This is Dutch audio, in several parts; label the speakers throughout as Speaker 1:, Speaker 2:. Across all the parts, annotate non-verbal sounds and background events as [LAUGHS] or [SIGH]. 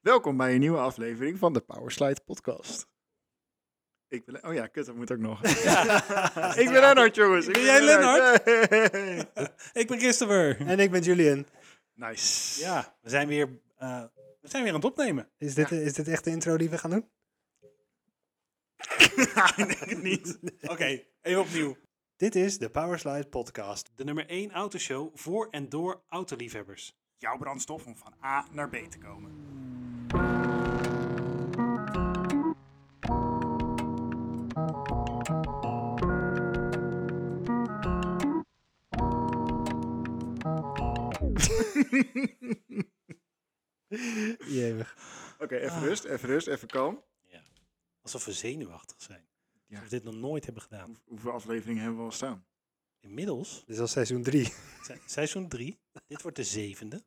Speaker 1: Welkom bij een nieuwe aflevering van de Powerslide Podcast. Ik ben. Oh ja, kut, dat moet ook
Speaker 2: [LAUGHS]
Speaker 1: nog. ik ben Lennart, jongens. Ik
Speaker 2: Ben jij Lennart?
Speaker 1: Hey.
Speaker 2: [LAUGHS] Ik ben Christopher.
Speaker 3: En ik ben Julian.
Speaker 1: [LAUGHS] Nice. [LAUGHS]
Speaker 2: Ja, we zijn weer, eh, we zijn weer aan het opnemen.
Speaker 3: Is dit, is dit echt de intro die we gaan doen?
Speaker 2: Ik denk het niet. Oké, even opnieuw.
Speaker 3: Dit is de Powerslide Podcast.
Speaker 2: De nummer 1 autoshow voor en door autoliefhebbers.
Speaker 1: Jouw brandstof om van A naar B te komen.
Speaker 3: Jewig.
Speaker 1: Oké,
Speaker 2: Ah.
Speaker 1: even rust, even rust, even kalm.
Speaker 2: Alsof we zenuwachtig zijn.
Speaker 1: Ja.
Speaker 2: Alsof we dit nog nooit hebben gedaan.
Speaker 1: Hoe- Hoeveel afleveringen hebben we al staan?
Speaker 2: Inmiddels,
Speaker 3: Dit is al seizoen 3.
Speaker 2: se- seizoen 3. Dit wordt de zevende.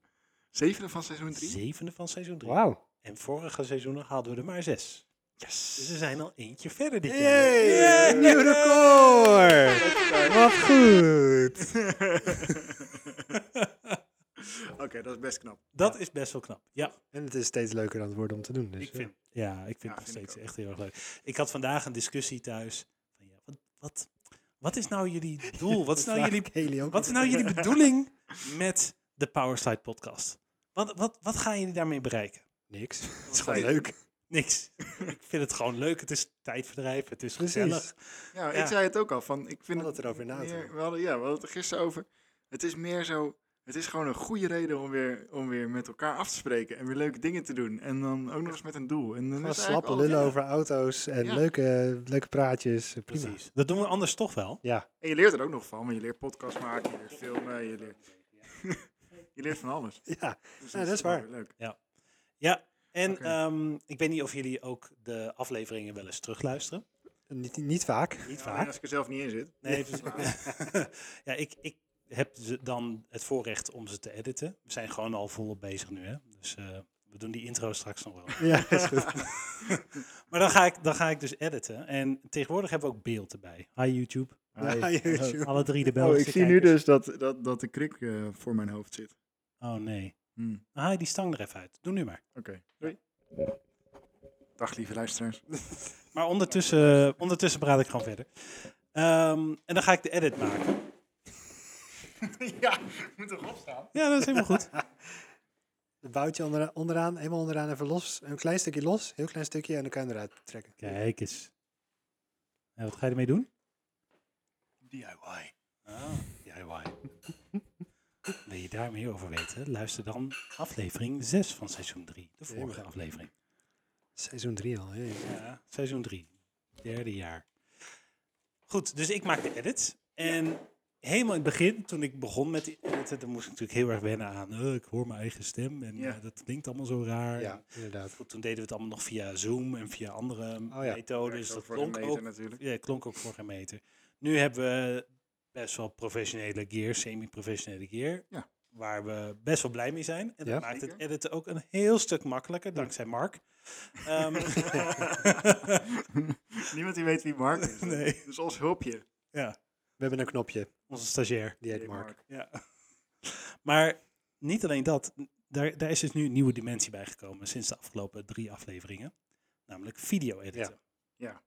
Speaker 1: Zevende van seizoen drie?
Speaker 2: Zevende van seizoen 3.
Speaker 3: Wauw.
Speaker 2: En vorige seizoenen hadden we er maar zes. Dus
Speaker 1: Yes.
Speaker 2: we zijn al eentje verder dit jaar.
Speaker 3: Hey, nieuw record! Wat goed!
Speaker 1: Oké, dat is best knap.
Speaker 2: Dat is best wel knap. Ja.
Speaker 3: En het is steeds leuker aan het worden om te doen. Dus
Speaker 2: Ik
Speaker 3: ja.
Speaker 2: vind, ja, ik vind
Speaker 1: Ja,
Speaker 2: het nog
Speaker 1: vind ik
Speaker 2: steeds echt heel erg leuk. Ik had vandaag een discussie thuis. Van, ja, wat, wat, wat is nou jullie doel?
Speaker 3: [LAUGHS]
Speaker 2: Wat is nou
Speaker 3: Vraag
Speaker 2: jullie,
Speaker 3: ik Haley ook
Speaker 2: wat is nou jullie bedoeling met de Powerslide podcast? Wat, wat, wat gaan jullie daarmee bereiken?
Speaker 3: Niks. Het is
Speaker 1: Wat
Speaker 3: gewoon
Speaker 1: zei je?
Speaker 3: leuk.
Speaker 2: Niks. ik vind het gewoon leuk. Het is tijdverdrijf. Het is
Speaker 3: Precies.
Speaker 2: gezellig.
Speaker 1: Ja,
Speaker 2: Ja.
Speaker 1: ik zei het ook al. Van, ik vind
Speaker 3: hadden het erover na te
Speaker 1: meer-
Speaker 3: denken.
Speaker 1: we hadden, Ja, we hadden het er gisteren over. Het is meer zo... Het is gewoon een goede reden om weer, om weer met elkaar af te spreken. En weer leuke dingen te doen. En dan ook nog eens met een doel. En dan is
Speaker 3: Gewoon
Speaker 1: eigenlijk
Speaker 3: slappe
Speaker 1: alles-
Speaker 3: lullen over auto's en
Speaker 1: Ja.
Speaker 3: leuke, leuke praatjes. Prima.
Speaker 2: Precies. Dat doen we anders toch wel.
Speaker 3: Ja.
Speaker 1: En je leert er ook nog van. Want je leert podcast maken, je leert filmen, je leert... [LAUGHS] je leert van alles.
Speaker 3: ja.
Speaker 1: Dus
Speaker 3: Ja, dat
Speaker 1: toch
Speaker 3: is
Speaker 1: wel
Speaker 3: waar.
Speaker 1: weer Leuk.
Speaker 2: Ja. En
Speaker 1: Oké.
Speaker 2: ehm, ik weet niet of jullie ook de afleveringen wel eens terugluisteren.
Speaker 3: Niet, niet vaak.
Speaker 2: Niet
Speaker 1: Ja, alleen
Speaker 2: vaak.
Speaker 1: als ik er zelf niet in zit.
Speaker 2: Nee,
Speaker 1: Dat is
Speaker 2: precies.
Speaker 1: waar.
Speaker 2: [LAUGHS] ja, ik, ik heb ze dan het voorrecht om ze te editen. We zijn gewoon al volop bezig nu, hè. Dus eh, we doen die intro straks
Speaker 1: [LAUGHS]
Speaker 2: nog wel.
Speaker 3: Ja, is goed.
Speaker 2: Maar dan ga, ik, dan ga ik dus editen. En tegenwoordig hebben we ook beeld erbij. Hi YouTube.
Speaker 1: [LAUGHS]
Speaker 3: Ja, YouTube.
Speaker 2: Alle drie de
Speaker 3: Nou,
Speaker 1: Oh,
Speaker 2: Belgische
Speaker 1: ik zie nu dus
Speaker 2: kijkers.
Speaker 1: dat, dat, dat de krik eh, voor mijn hoofd zit.
Speaker 2: Oh nee.
Speaker 1: Hmm,
Speaker 2: Haal je die stang er even uit. Doe nu maar.
Speaker 1: Oké. Doei. Dag lieve luisteraars.
Speaker 2: Maar ondertussen, eh, ondertussen praat ik gewoon verder. Ehm, en dan ga ik de edit maken.
Speaker 1: [LAUGHS] ja, moet erop staan.
Speaker 2: Ja, dat is helemaal
Speaker 1: [LAUGHS]
Speaker 2: goed.
Speaker 3: Een boutje ondera- onderaan, helemaal onderaan even los. Een klein stukje los, heel klein stukje en dan kan je hem eruit trekken.
Speaker 2: Kijk eens. En wat ga je ermee doen?
Speaker 1: DIY.
Speaker 2: Ah, DIY. Wil je daar meer over weten? Luister dan aflevering 6 van seizoen 3. De vorige
Speaker 3: Jemig.
Speaker 2: aflevering.
Speaker 3: Seizoen 3 al. jee.
Speaker 2: Ja, seizoen 3. Derde jaar. Goed, dus ik maak de edit. En helemaal in het begin, toen ik begon met die editen, dan moest ik natuurlijk heel erg wennen aan. eh, ik hoor mijn eigen stem en
Speaker 1: Ja.
Speaker 2: eh, dat klinkt allemaal zo raar.
Speaker 3: Ja, inderdaad.
Speaker 2: Goed, toen deden we het allemaal nog via Zoom en via andere
Speaker 3: Oh ja.
Speaker 2: methodes.
Speaker 1: Zo
Speaker 2: dus dat
Speaker 1: voor de
Speaker 2: klonk
Speaker 1: meter
Speaker 2: ook
Speaker 1: natuurlijk.
Speaker 2: Ja, het klonk ook voor geen meter. Nu hebben we best wel professionele gear, semi-professionele gear.
Speaker 1: Ja.
Speaker 2: Waar we best wel blij mee zijn. En
Speaker 3: Ja.
Speaker 2: dat maakt het
Speaker 1: Zeker.
Speaker 2: editen ook een heel stuk makkelijker, dankzij Mark. Ehm, [LAUGHS]
Speaker 1: Niemand die weet wie Mark
Speaker 2: [LAUGHS]
Speaker 1: is.
Speaker 2: Nee.
Speaker 1: Dus ons hulpje.
Speaker 2: ja,
Speaker 3: We hebben een knopje,
Speaker 2: onze stagiair.
Speaker 3: die heet
Speaker 1: Hey,
Speaker 3: Mark.
Speaker 2: Ja. [LAUGHS] Maar niet alleen dat, daar, daar is dus nu een nieuwe dimensie bij gekomen sinds de afgelopen drie afleveringen. Namelijk video editen.
Speaker 1: Ja.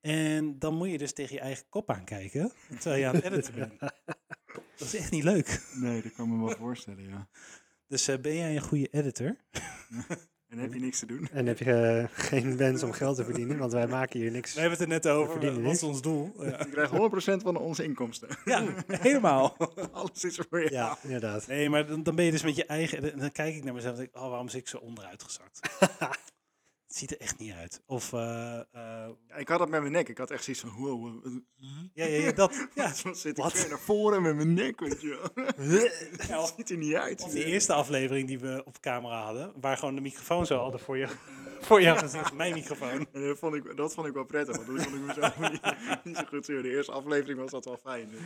Speaker 2: En dan moet je dus tegen je eigen kop aankijken terwijl je aan het editen bent. Dat is echt niet leuk.
Speaker 1: Nee, dat kan me wel voorstellen, ja.
Speaker 2: Dus eh, ben jij een goede editor?
Speaker 1: En heb je niks te doen?
Speaker 3: En heb je eh, geen wens om geld te verdienen, want wij maken hier niks.
Speaker 2: We hebben het er net over,
Speaker 3: verdienen
Speaker 2: dat is ons doel. [LAUGHS] Ja,
Speaker 1: Je krijgt 100% van onze inkomsten. [LAUGHS]
Speaker 2: Ja, helemaal.
Speaker 1: Alles is voor jou.
Speaker 3: Ja, inderdaad.
Speaker 2: Nee, maar dan, dan ben je dus met je eigen... en Dan kijk ik naar mezelf en denk ik, oh, waarom zit ik zo onderuit gezakt? Het ziet er echt niet uit. Of, eh, eh,
Speaker 1: Ja, Ik had dat met mijn nek. Ik had echt zoiets van, wow, wow, wat-
Speaker 2: ja, ja, ja, [LAUGHS] dat. Ja,
Speaker 1: wat zit ik
Speaker 2: Wat?
Speaker 1: weer naar voren met mijn nek, weet je
Speaker 2: [LAUGHS]
Speaker 1: wel.
Speaker 2: Ja,
Speaker 1: Het
Speaker 2: of,
Speaker 1: ziet er niet uit.
Speaker 2: of die eerste aflevering die we op camera hadden, waar gewoon de microfoon zo hadden voor je, [LAUGHS] voor je gezicht, mijn microfoon.
Speaker 1: En dat vond, ik, dat vond ik wel prettig, want dat vond ik mezelf [LAUGHS] niet, niet zo goed zien. De eerste aflevering was dat wel fijn. Dus.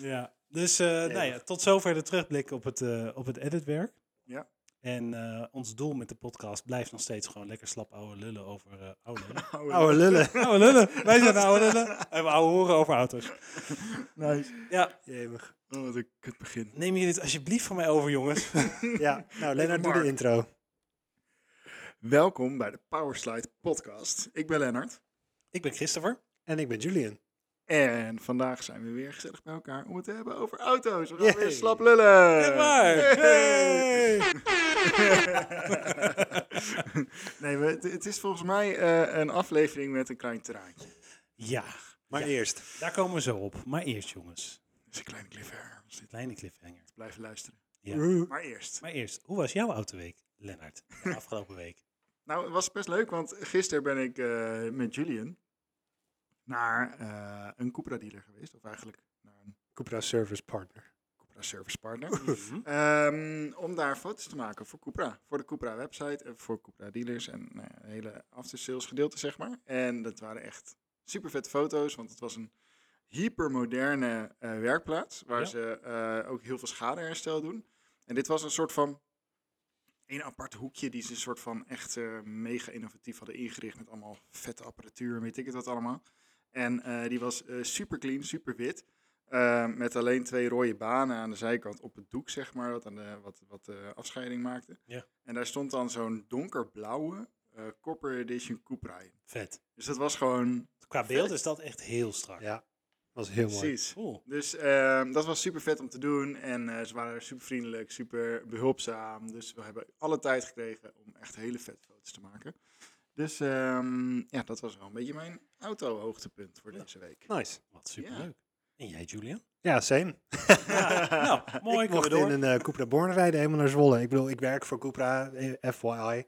Speaker 2: Ja. Dus eh, nou ja, tot zover de terugblik op het, eh, op het editwerk.
Speaker 1: Ja.
Speaker 2: En eh, ons doel met de podcast blijft nog steeds gewoon lekker slap ouwe lullen over eh oude [LAUGHS] lullen.
Speaker 1: Oh,
Speaker 3: Oude lullen.
Speaker 2: oude lullen, wij zijn de oude lullen. En [LAUGHS] we ouwe horen over auto's.
Speaker 1: Nice.
Speaker 2: Ja,
Speaker 3: Jemig.
Speaker 1: Oh, wat een kut begin.
Speaker 2: neem je dit alsjeblieft van mij over, jongens.
Speaker 3: Ja, nou Lennart, doe
Speaker 1: Mark.
Speaker 3: de intro.
Speaker 1: Welkom bij de Powerslide podcast. Ik ben Lennart
Speaker 2: [LAUGHS] Ik ben Christopher.
Speaker 3: En ik ben Julian.
Speaker 1: en vandaag zijn we weer gezellig bij elkaar om het te hebben over auto's. We gaan
Speaker 3: Yay.
Speaker 1: weer slap lullen.
Speaker 2: Echt waar?
Speaker 1: Hey.
Speaker 2: Hey.
Speaker 1: nee, we, het, het is volgens mij eh, een aflevering met een klein terreintje.
Speaker 2: Ja,
Speaker 3: Maar eerst.
Speaker 2: daar komen we zo op. Maar eerst jongens,
Speaker 1: Dat is een kleine cliffhanger. We zitten
Speaker 2: kleine cliffhanger.
Speaker 1: blijven luisteren.
Speaker 2: Ja.
Speaker 1: Maar eerst.
Speaker 2: Maar eerst, hoe was jouw autoweek, Lennart,
Speaker 3: [LAUGHS]
Speaker 2: de afgelopen week?
Speaker 1: Nou, het was best leuk, want gisteren ben ik eh, met Julian naar eh, een Cupra dealer geweest. Of eigenlijk naar een
Speaker 3: Cupra Service Partner.
Speaker 1: Cupra service partner.
Speaker 3: Mhm.
Speaker 1: Ehm, om daar foto's te maken voor Cupra. Voor de Cupra website en voor Cupra dealers en nou ja, het hele after sales gedeelte, zeg maar. En dat waren echt super vette foto's, want het was een hypermoderne eh, werkplaats. Waar
Speaker 2: Ja.
Speaker 1: ze eh, ook heel veel schadeherstel doen. En dit was een soort van een apart hoekje die ze een soort van echt eh, mega innovatief hadden ingericht. Met allemaal vette apparatuur en weet ik het wat allemaal. En eh, die was eh, super clean, super wit. Eh, met alleen twee rode banen aan de zijkant op het doek, zeg maar, wat, aan de, wat, wat de afscheiding maakte.
Speaker 2: Ja.
Speaker 1: En daar stond dan zo'n donkerblauwe eh Corporate Edition Cupra in.
Speaker 2: Vet.
Speaker 1: Dus dat was gewoon...
Speaker 2: Qua beeld is dat echt heel strak.
Speaker 3: Ja, was heel mooi.
Speaker 1: Precies.
Speaker 2: Cool.
Speaker 1: Dus eh, dat was super vet om te doen. En eh, ze waren super vriendelijk, super behulpzaam. Dus we hebben alle tijd gekregen om echt hele vette foto's te maken. Dus ehm, ja, dat was wel een beetje mijn auto-hoogtepunt voor
Speaker 2: Ja.
Speaker 1: deze week.
Speaker 3: Nice.
Speaker 2: Wat superleuk. En jij,
Speaker 3: [LAUGHS]
Speaker 2: Julian?
Speaker 3: Ja, same.
Speaker 2: Ja, nou, mooi. kunnen
Speaker 3: ik
Speaker 2: we
Speaker 3: mocht
Speaker 2: door.
Speaker 3: in een eh, Cupra Born rijden, helemaal naar Zwolle. Ik bedoel, ik werk voor Cupra, eh, FYI.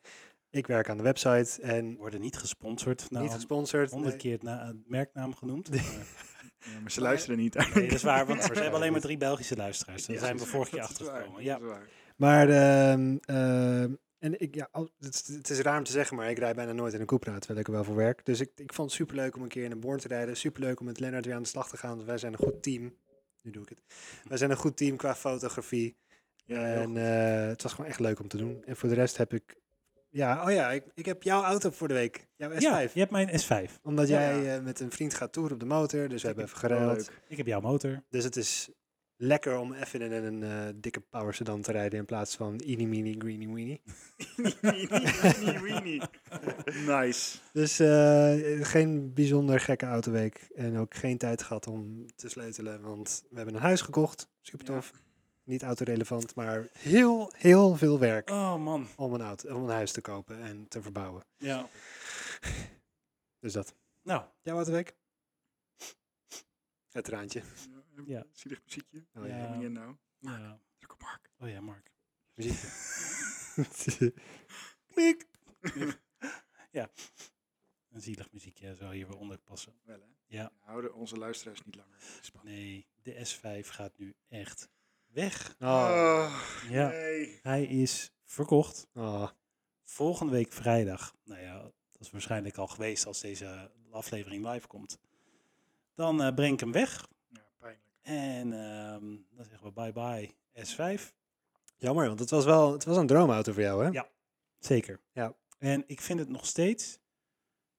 Speaker 3: Ik werk aan de website en
Speaker 2: We worden niet gesponsord. Nou,
Speaker 3: niet gesponsord.
Speaker 2: honderd
Speaker 3: nee.
Speaker 2: keer het na- het merknaam genoemd. maar-
Speaker 1: Ja, maar ze luisteren niet. Daar
Speaker 3: [LAUGHS]
Speaker 2: nee, dat is waar, want we
Speaker 3: Waarschijnlijk
Speaker 2: hebben alleen maar
Speaker 3: niet.
Speaker 2: drie Belgische luisteraars. Daar
Speaker 1: [LAUGHS]
Speaker 2: zijn we vorige keer achter gekomen. Ja.
Speaker 3: Maar, ehm, ehm, en ik, ja, al- het, is- het is raar om te zeggen, maar ik rijd bijna nooit in een Cupra, terwijl ik er wel voor werk. Dus ik, ik vond het superleuk om een keer in een Born te rijden. Superleuk om met Lennart weer aan de slag te gaan, want wij zijn een goed team. Nu doe ik het. Wij zijn een goed team qua fotografie. en eh, het was gewoon echt leuk om te doen. En voor de rest heb ik... Ja, oh ja, ik, ik heb jouw auto voor de week. Jouw S5.
Speaker 2: ja, je hebt mijn S5.
Speaker 3: Omdat
Speaker 1: Ja,
Speaker 3: jij
Speaker 1: ja.
Speaker 3: eh, met een vriend gaat toeren op de motor, dus we hebben even
Speaker 1: Wel
Speaker 3: geruild.
Speaker 1: leuk.
Speaker 2: Ik heb jouw
Speaker 3: [LAUGHS]
Speaker 2: motor.
Speaker 3: Dus het is lekker om even in een eh, dikke power sedan te rijden in plaats van eeny meeny greeny
Speaker 1: [LAUGHS]
Speaker 3: weeny.
Speaker 1: Weenie,
Speaker 2: [LAUGHS]
Speaker 1: weenie. nice.
Speaker 3: Dus eh, geen bijzonder gekke autoweek en ook geen tijd gehad om te sleutelen, want we hebben een huis gekocht. Super
Speaker 1: Ja.
Speaker 3: tof. Niet autorelevant, maar heel, heel veel werk
Speaker 2: Oh man.
Speaker 3: om een, auto, om een huis te kopen en te verbouwen.
Speaker 2: Ja.
Speaker 3: Dus dat.
Speaker 2: Nou,
Speaker 3: Jouw autoweek? Het traantje.
Speaker 2: Ja.
Speaker 1: Zielig muziekje.
Speaker 3: Oh, ja.
Speaker 2: Ja.
Speaker 1: Hang in nou.
Speaker 2: ja.
Speaker 1: Druk op
Speaker 2: [LAUGHS]
Speaker 1: Mark.
Speaker 2: oh ja, Mark.
Speaker 3: Muziekje.
Speaker 2: [LAUGHS] Klik. ja. Een zielig muziekje zou hier weer onder passen.
Speaker 1: Wel, hè?
Speaker 2: Ja.
Speaker 1: We houden onze luisteraars niet langer spannend.
Speaker 2: Nee, de S5 gaat nu echt weg.
Speaker 3: Oh,
Speaker 2: Ja.
Speaker 1: Nee.
Speaker 2: Hij is verkocht.
Speaker 3: oh.
Speaker 2: volgende week vrijdag, nou ja, dat is waarschijnlijk al geweest als deze aflevering live komt, dan eh, breng ik hem weg
Speaker 1: Ja, pijnlijk.
Speaker 2: en ehm, dan zeggen we bye bye S5.
Speaker 3: Jammer, want het was wel het was een droomauto voor jou, hè?
Speaker 2: Ja. Zeker.
Speaker 3: Ja.
Speaker 2: En ik vind het nog steeds,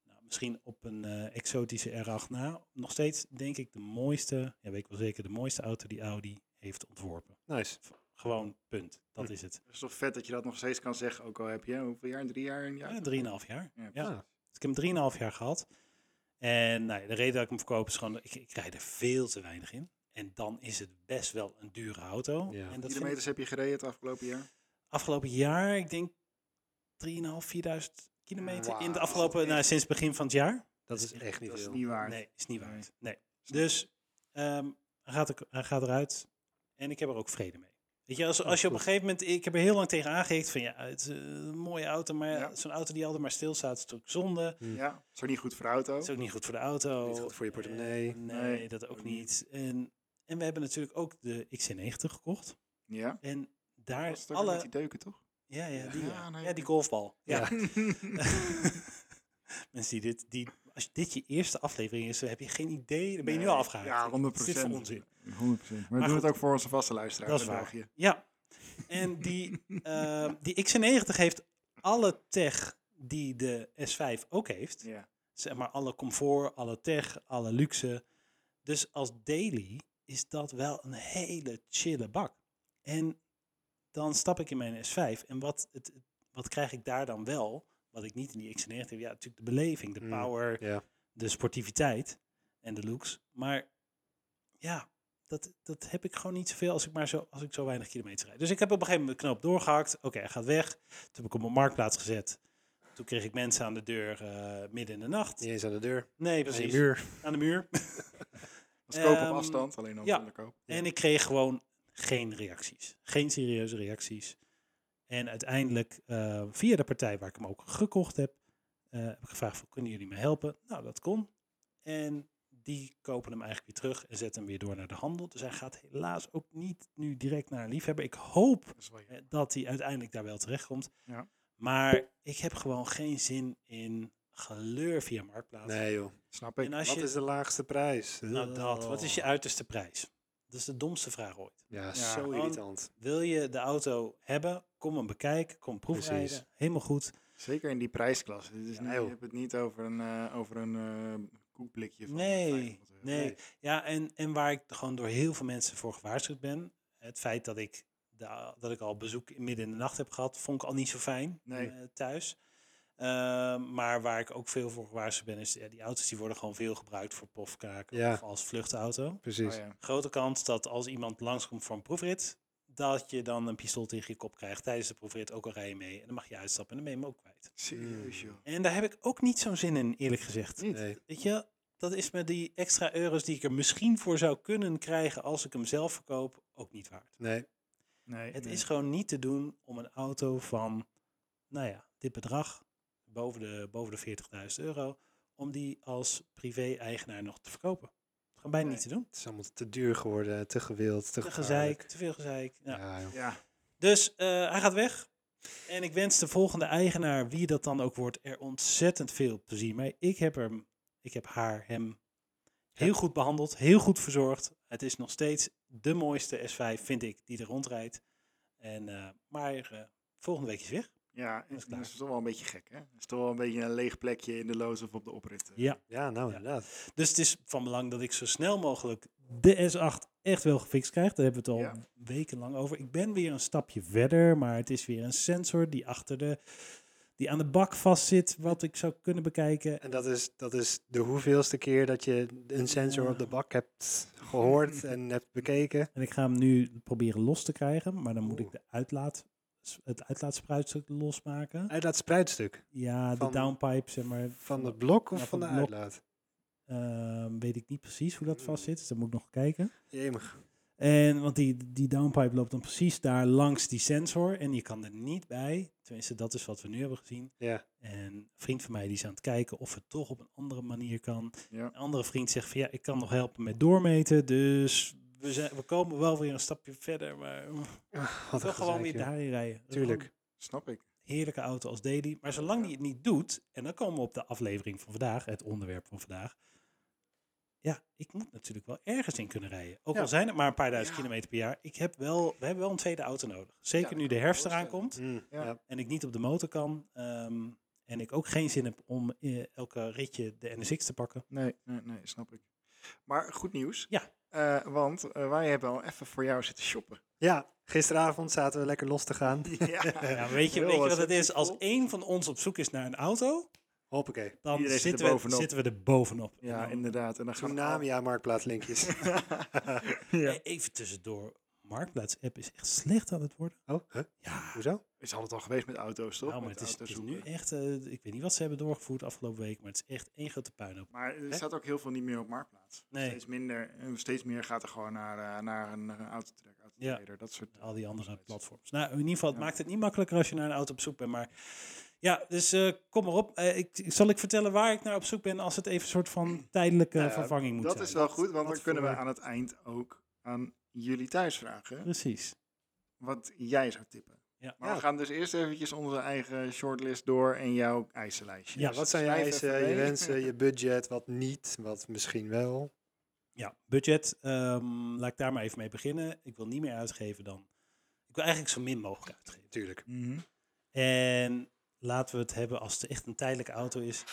Speaker 2: nou, misschien op een eh, exotische R8 na, nog steeds denk ik de mooiste, ja weet ik wel zeker, de mooiste auto die Audi heeft ontworpen.
Speaker 3: Nice.
Speaker 2: Gewoon punt. Dat
Speaker 3: Hm.
Speaker 2: is het.
Speaker 1: Het is toch vet dat je dat nog steeds kan zeggen, ook al heb je hoeveel jaar? Drie jaar? Een jaar?
Speaker 2: Ja, drieënhalf jaar.
Speaker 1: Ja,
Speaker 2: Ja.
Speaker 3: Ah.
Speaker 2: Dus ik heb hem 3,5 jaar gehad. En nou ja, de reden dat ik hem verkoop is gewoon, ik, ik rijd er veel te weinig in. En dan is het best wel een dure auto.
Speaker 3: Ja.
Speaker 2: En dat vind ik
Speaker 1: Kilometers heb je gereden het afgelopen jaar?
Speaker 2: afgelopen jaar, ik denk 3,5, 4000 kilometer in de
Speaker 1: Wauw.
Speaker 2: afgelopen, nou, sinds begin van het jaar.
Speaker 3: Dat is echt niet
Speaker 1: Dat is
Speaker 3: veel.
Speaker 1: niet waar.
Speaker 2: Nee, is niet
Speaker 1: Nee.
Speaker 2: waard. Nee. Dus ehm, hij, gaat er, hij gaat eruit en ik heb er ook vrede mee. Weet je, als, als je op een gegeven moment, ik heb er heel lang tegen aangehikt van ja, het is een mooie auto, maar
Speaker 1: Ja.
Speaker 2: zo'n auto die altijd maar stilstaat is natuurlijk zonde.
Speaker 1: Ja, is ook niet goed voor de auto.
Speaker 2: Dat is ook niet goed voor de auto.
Speaker 3: Niet goed voor je portemonnee.
Speaker 2: Eh, nee,
Speaker 1: Nee,
Speaker 2: dat ook
Speaker 1: ook
Speaker 2: niet. En, en we hebben natuurlijk ook de XC90 gekocht.
Speaker 1: Ja.
Speaker 2: En
Speaker 1: Dat is
Speaker 2: daar is
Speaker 1: het ook met
Speaker 2: alle...
Speaker 1: die deuken, toch?
Speaker 2: Ja, ja, die,
Speaker 1: Ja,
Speaker 2: ja.
Speaker 1: nee,
Speaker 2: Ja, die
Speaker 1: dat-
Speaker 2: golfbal. Ja.
Speaker 3: Ja.
Speaker 2: Mensen die dit... Die, als dit je eerste aflevering is, dan heb je geen idee. Dan ben je nu al afgehaakt.
Speaker 1: Ja, 100%.
Speaker 2: Wat is dit voor onzin?
Speaker 1: 100%. Maar, we doen
Speaker 2: goed.
Speaker 1: het ook voor onze vaste luisteraars
Speaker 2: Dat is
Speaker 1: in
Speaker 2: waar.
Speaker 1: België.
Speaker 2: Ja. En die, [LAUGHS] eh, die XC90 heeft alle tech die de S5 ook heeft.
Speaker 1: Ja.
Speaker 2: zeg maar alle comfort, alle tech, alle luxe. Dus als daily is dat wel een hele chille bak. En dan stap ik in mijn S5 en wat, het, wat krijg ik daar dan wel? Wat ik niet in die X90 heb. Ja, natuurlijk de beleving, de
Speaker 3: Mm,
Speaker 2: power,
Speaker 3: ja.
Speaker 2: de sportiviteit en de looks. Maar ja, dat, dat heb ik gewoon niet zoveel als ik maar zo, als ik zo weinig kilometer rijd. Dus ik heb op een gegeven moment de knoop doorgehakt. Oké, hij gaat weg. Toen heb ik hem op marktplaats gezet. Toen kreeg ik mensen aan de deur eh, midden in de nacht.
Speaker 3: Niet eens aan de deur.
Speaker 2: Nee,
Speaker 3: Aan je
Speaker 2: precies.
Speaker 3: muur.
Speaker 2: Aan de muur.
Speaker 1: Dat is koop
Speaker 2: Ehm,
Speaker 1: op afstand, alleen dan
Speaker 2: ja.
Speaker 1: zonder koop.
Speaker 3: Ja.
Speaker 2: En ik kreeg gewoon geen reacties. Geen serieuze reacties. En uiteindelijk, eh, via de partij waar ik hem ook gekocht heb, eh, heb ik gevraagd: van, kunnen jullie me helpen? Nou, dat kon. En die kopen hem eigenlijk weer terug en zetten hem weer door naar de handel. Dus hij gaat helaas ook niet nu direct naar een liefhebber. Ik hoop
Speaker 1: Dat is wel jammer.
Speaker 2: eh, dat hij uiteindelijk daar wel terechtkomt.
Speaker 1: Ja.
Speaker 2: Maar ik heb gewoon geen zin in geleur via Marktplaats.
Speaker 3: Nee joh.
Speaker 1: Snap ik.
Speaker 2: En als
Speaker 3: Wat
Speaker 2: je,
Speaker 3: is de laagste prijs?
Speaker 2: nou dat, wat is je
Speaker 3: Oh.
Speaker 2: uiterste prijs? Dat is de domste vraag ooit.
Speaker 3: Ja, zo
Speaker 2: gewoon-
Speaker 3: irritant.
Speaker 2: Wil je de auto hebben? Kom hem bekijken, kom proefrijden.
Speaker 3: Precies.
Speaker 2: Helemaal goed.
Speaker 1: Zeker in die prijsklasse. Dit is
Speaker 3: Ja,
Speaker 1: niet,
Speaker 3: joh.
Speaker 1: je hebt het niet over een, eh over een eh, koekblikje van
Speaker 2: Nee,
Speaker 1: 500 euro.
Speaker 2: nee. Ja, en, en waar ik gewoon door heel veel mensen voor gewaarschuwd ben. Het feit dat ik, de, dat ik al bezoek in midden in de nacht heb gehad, vond ik al niet zo fijn
Speaker 1: Nee.
Speaker 2: eh, thuis. Ehm, maar waar ik ook veel voor gewaarschuwd ben, is ja, die auto's die worden gewoon veel gebruikt voor pofkaken
Speaker 3: Ja.
Speaker 2: of als vluchtauto.
Speaker 3: Precies.
Speaker 1: Oh, ja.
Speaker 2: Grote kans dat als iemand langskomt voor een proefrit, dat je dan een pistool tegen je kop krijgt tijdens de proefrit, ook al rij je mee. En dan mag je uitstappen en dan ben je hem ook kwijt.
Speaker 1: Serieus, joh.
Speaker 2: En daar heb ik ook niet zo'n zin in, eerlijk gezegd.
Speaker 1: Niet.
Speaker 3: Nee.
Speaker 2: Weet je, dat is met die extra euro's die ik er misschien voor zou kunnen krijgen als ik hem zelf verkoop, ook niet waard.
Speaker 3: Nee.
Speaker 1: Nee,
Speaker 2: Het
Speaker 1: nee.
Speaker 2: is gewoon niet te doen om een auto van, nou ja, dit bedrag, boven de, boven de 40.000 euro, om die als privé-eigenaar nog te verkopen. Gewoon bijna
Speaker 1: Nee.
Speaker 2: niet te doen.
Speaker 3: Het is allemaal te duur geworden, te gewild, te
Speaker 2: Te gezeik,
Speaker 3: gevaarlijk.
Speaker 2: te veel gezeik. Ja.
Speaker 3: Ja, joh.
Speaker 1: Ja,
Speaker 2: Dus eh, hij gaat weg. En ik wens de volgende eigenaar, wie dat dan ook wordt, er ontzettend veel plezier mee. Ik heb, hem, ik heb haar, hem heel goed behandeld, heel goed verzorgd. Het is nog steeds de mooiste S5, vind ik, die er rondrijdt. En, eh, maar eh, volgende week is hij weg.
Speaker 1: ja en- en
Speaker 2: is
Speaker 1: dat,
Speaker 2: klaar.
Speaker 1: is toch wel een beetje gek, hè? Het is toch wel een beetje een leeg plekje in de loos of op de oprit. eh.
Speaker 2: Ja.
Speaker 3: ja nou
Speaker 2: Ja.
Speaker 3: inderdaad.
Speaker 2: Dus het is van belang dat ik zo snel mogelijk de S8 echt wel gefixt krijg. Daar hebben we het al
Speaker 1: Ja.
Speaker 2: wekenlang over. Ik ben weer een stapje verder, maar het is weer een sensor die achter de... Die aan de bak vastzit, wat ik zou kunnen bekijken.
Speaker 3: En dat is, dat is de hoeveelste keer dat je een sensor op de bak hebt
Speaker 2: [LAUGHS]
Speaker 3: gehoord en hebt bekeken.
Speaker 2: En ik ga hem nu proberen los te krijgen, maar dan moet ik
Speaker 3: Oeh.
Speaker 2: de uitlaat, het uitlaatspruitstuk losmaken.
Speaker 3: Uitlaat spruitstuk.
Speaker 2: Ja, de
Speaker 3: Van-
Speaker 2: downpipe, zeg maar.
Speaker 3: Van het blok of
Speaker 2: Ja,
Speaker 3: van
Speaker 2: van
Speaker 3: de
Speaker 2: het blok.
Speaker 3: uitlaat?
Speaker 2: ehm, weet ik niet precies hoe dat
Speaker 3: Mm.
Speaker 2: vastzit, dus dat moet ik nog kijken.
Speaker 3: Jemig.
Speaker 2: En, want die, die downpipe loopt dan precies daar langs die sensor en je kan er niet bij. Tenminste, dat is wat we nu hebben gezien.
Speaker 3: Ja.
Speaker 2: En een vriend van mij die is aan het kijken of het toch op een andere manier kan.
Speaker 1: Ja.
Speaker 2: Een andere vriend zegt van ja, ik kan nog helpen met doormeten, dus... We, zijn, we komen wel weer een stapje verder, maar we
Speaker 3: Wat een
Speaker 2: toch gewoon
Speaker 3: gezeik,
Speaker 2: weer
Speaker 3: joh.
Speaker 2: daarin rijden.
Speaker 3: Tuurlijk.
Speaker 1: Snap ik.
Speaker 2: heerlijke auto als daily. Maar zolang die het niet doet, en dan komen we op de aflevering van vandaag, het onderwerp van vandaag. Ja, ik moet natuurlijk wel ergens in kunnen rijden. Ook
Speaker 3: Ja.
Speaker 2: al zijn het maar een paar duizend
Speaker 1: Ja.
Speaker 2: kilometer per jaar. Ik heb wel, we hebben wel een tweede auto nodig. Zeker
Speaker 1: dat kan
Speaker 2: nu de
Speaker 1: ik me
Speaker 2: herfst eraan
Speaker 1: voorstellen.
Speaker 2: komt
Speaker 3: Mm,
Speaker 1: Ja.
Speaker 3: ja.
Speaker 2: en ik niet op de motor kan. ehm, en ik ook geen zin heb om eh, elke ritje de NSX te pakken.
Speaker 1: Nee, nee, nee, snap ik. Maar goed nieuws.
Speaker 2: Ja.
Speaker 1: Eh, want eh, wij hebben al even voor jou zitten shoppen.
Speaker 3: Ja, gisteravond zaten we lekker los te gaan.
Speaker 1: ja.
Speaker 2: [LAUGHS]
Speaker 1: [LAUGHS]
Speaker 2: Ja, weet je,
Speaker 1: Yo,
Speaker 2: weet
Speaker 1: was
Speaker 2: je wat het
Speaker 1: het
Speaker 2: is? Als
Speaker 1: vol?
Speaker 2: één van ons op zoek is naar een auto,
Speaker 3: Hoppakee.
Speaker 2: dan
Speaker 1: Iedereen zit er
Speaker 2: zitten, we,
Speaker 1: bovenop.
Speaker 2: zitten we er bovenop. Nou, En
Speaker 1: Ja,
Speaker 2: dan-
Speaker 1: inderdaad. En dan gaan al-
Speaker 3: Tsunami aan marktplaatslinkjes.
Speaker 2: [LAUGHS]
Speaker 1: Ja.
Speaker 2: Eh, Even tussendoor. Marktplaats app is echt slecht aan het worden.
Speaker 3: Oh, huh?
Speaker 2: Ja,
Speaker 3: hoezo?
Speaker 1: Is altijd al geweest met auto's, toch?
Speaker 2: nou, maar
Speaker 1: Met
Speaker 2: het is,
Speaker 1: auto's
Speaker 2: het is
Speaker 1: zoeken.
Speaker 2: nu echt. eh, ik weet niet wat ze hebben doorgevoerd afgelopen week, maar het is echt één grote puinhoop.
Speaker 1: Maar er
Speaker 3: Hè?
Speaker 1: staat ook heel veel niet meer op marktplaats.
Speaker 2: Nee.
Speaker 1: Steeds minder. En steeds meer gaat er gewoon naar, eh, naar een eh, autotrack, autotrader, dat soort
Speaker 2: Al die andere
Speaker 1: websites.
Speaker 2: platforms. Nou, in ieder geval, het
Speaker 1: Ja.
Speaker 2: maakt het niet makkelijker als je naar een auto op zoek bent. Maar ja, dus eh, kom maar op. Eh, ik, ik- zal ik vertellen waar ik naar op zoek ben als het even een soort van tijdelijke
Speaker 3: Nou ja,
Speaker 2: vervanging moet
Speaker 1: Dat
Speaker 2: zijn?
Speaker 1: is wel goed, want
Speaker 2: wat
Speaker 1: dan kunnen we
Speaker 2: voor-
Speaker 1: aan het eind ook aan jullie thuis vragen
Speaker 2: Precies.
Speaker 1: wat jij zou tippen.
Speaker 2: Ja.
Speaker 1: Maar
Speaker 3: Ja.
Speaker 1: we gaan dus eerst eventjes onze eigen shortlist door en jouw eisenlijstje.
Speaker 2: Ja,
Speaker 1: Dus
Speaker 3: Wat zijn je
Speaker 1: schrijf
Speaker 3: eisen,
Speaker 1: even
Speaker 3: eh, je
Speaker 1: mee.
Speaker 3: wensen, je budget, wat niet, wat misschien wel?
Speaker 2: Ja, budget. ehm, laat ik daar maar even mee beginnen. Ik wil niet meer uitgeven dan. Ik wil eigenlijk zo min mogelijk uitgeven.
Speaker 3: Tuurlijk.
Speaker 1: Mhm.
Speaker 2: En laten we het hebben als het echt een tijdelijke auto is.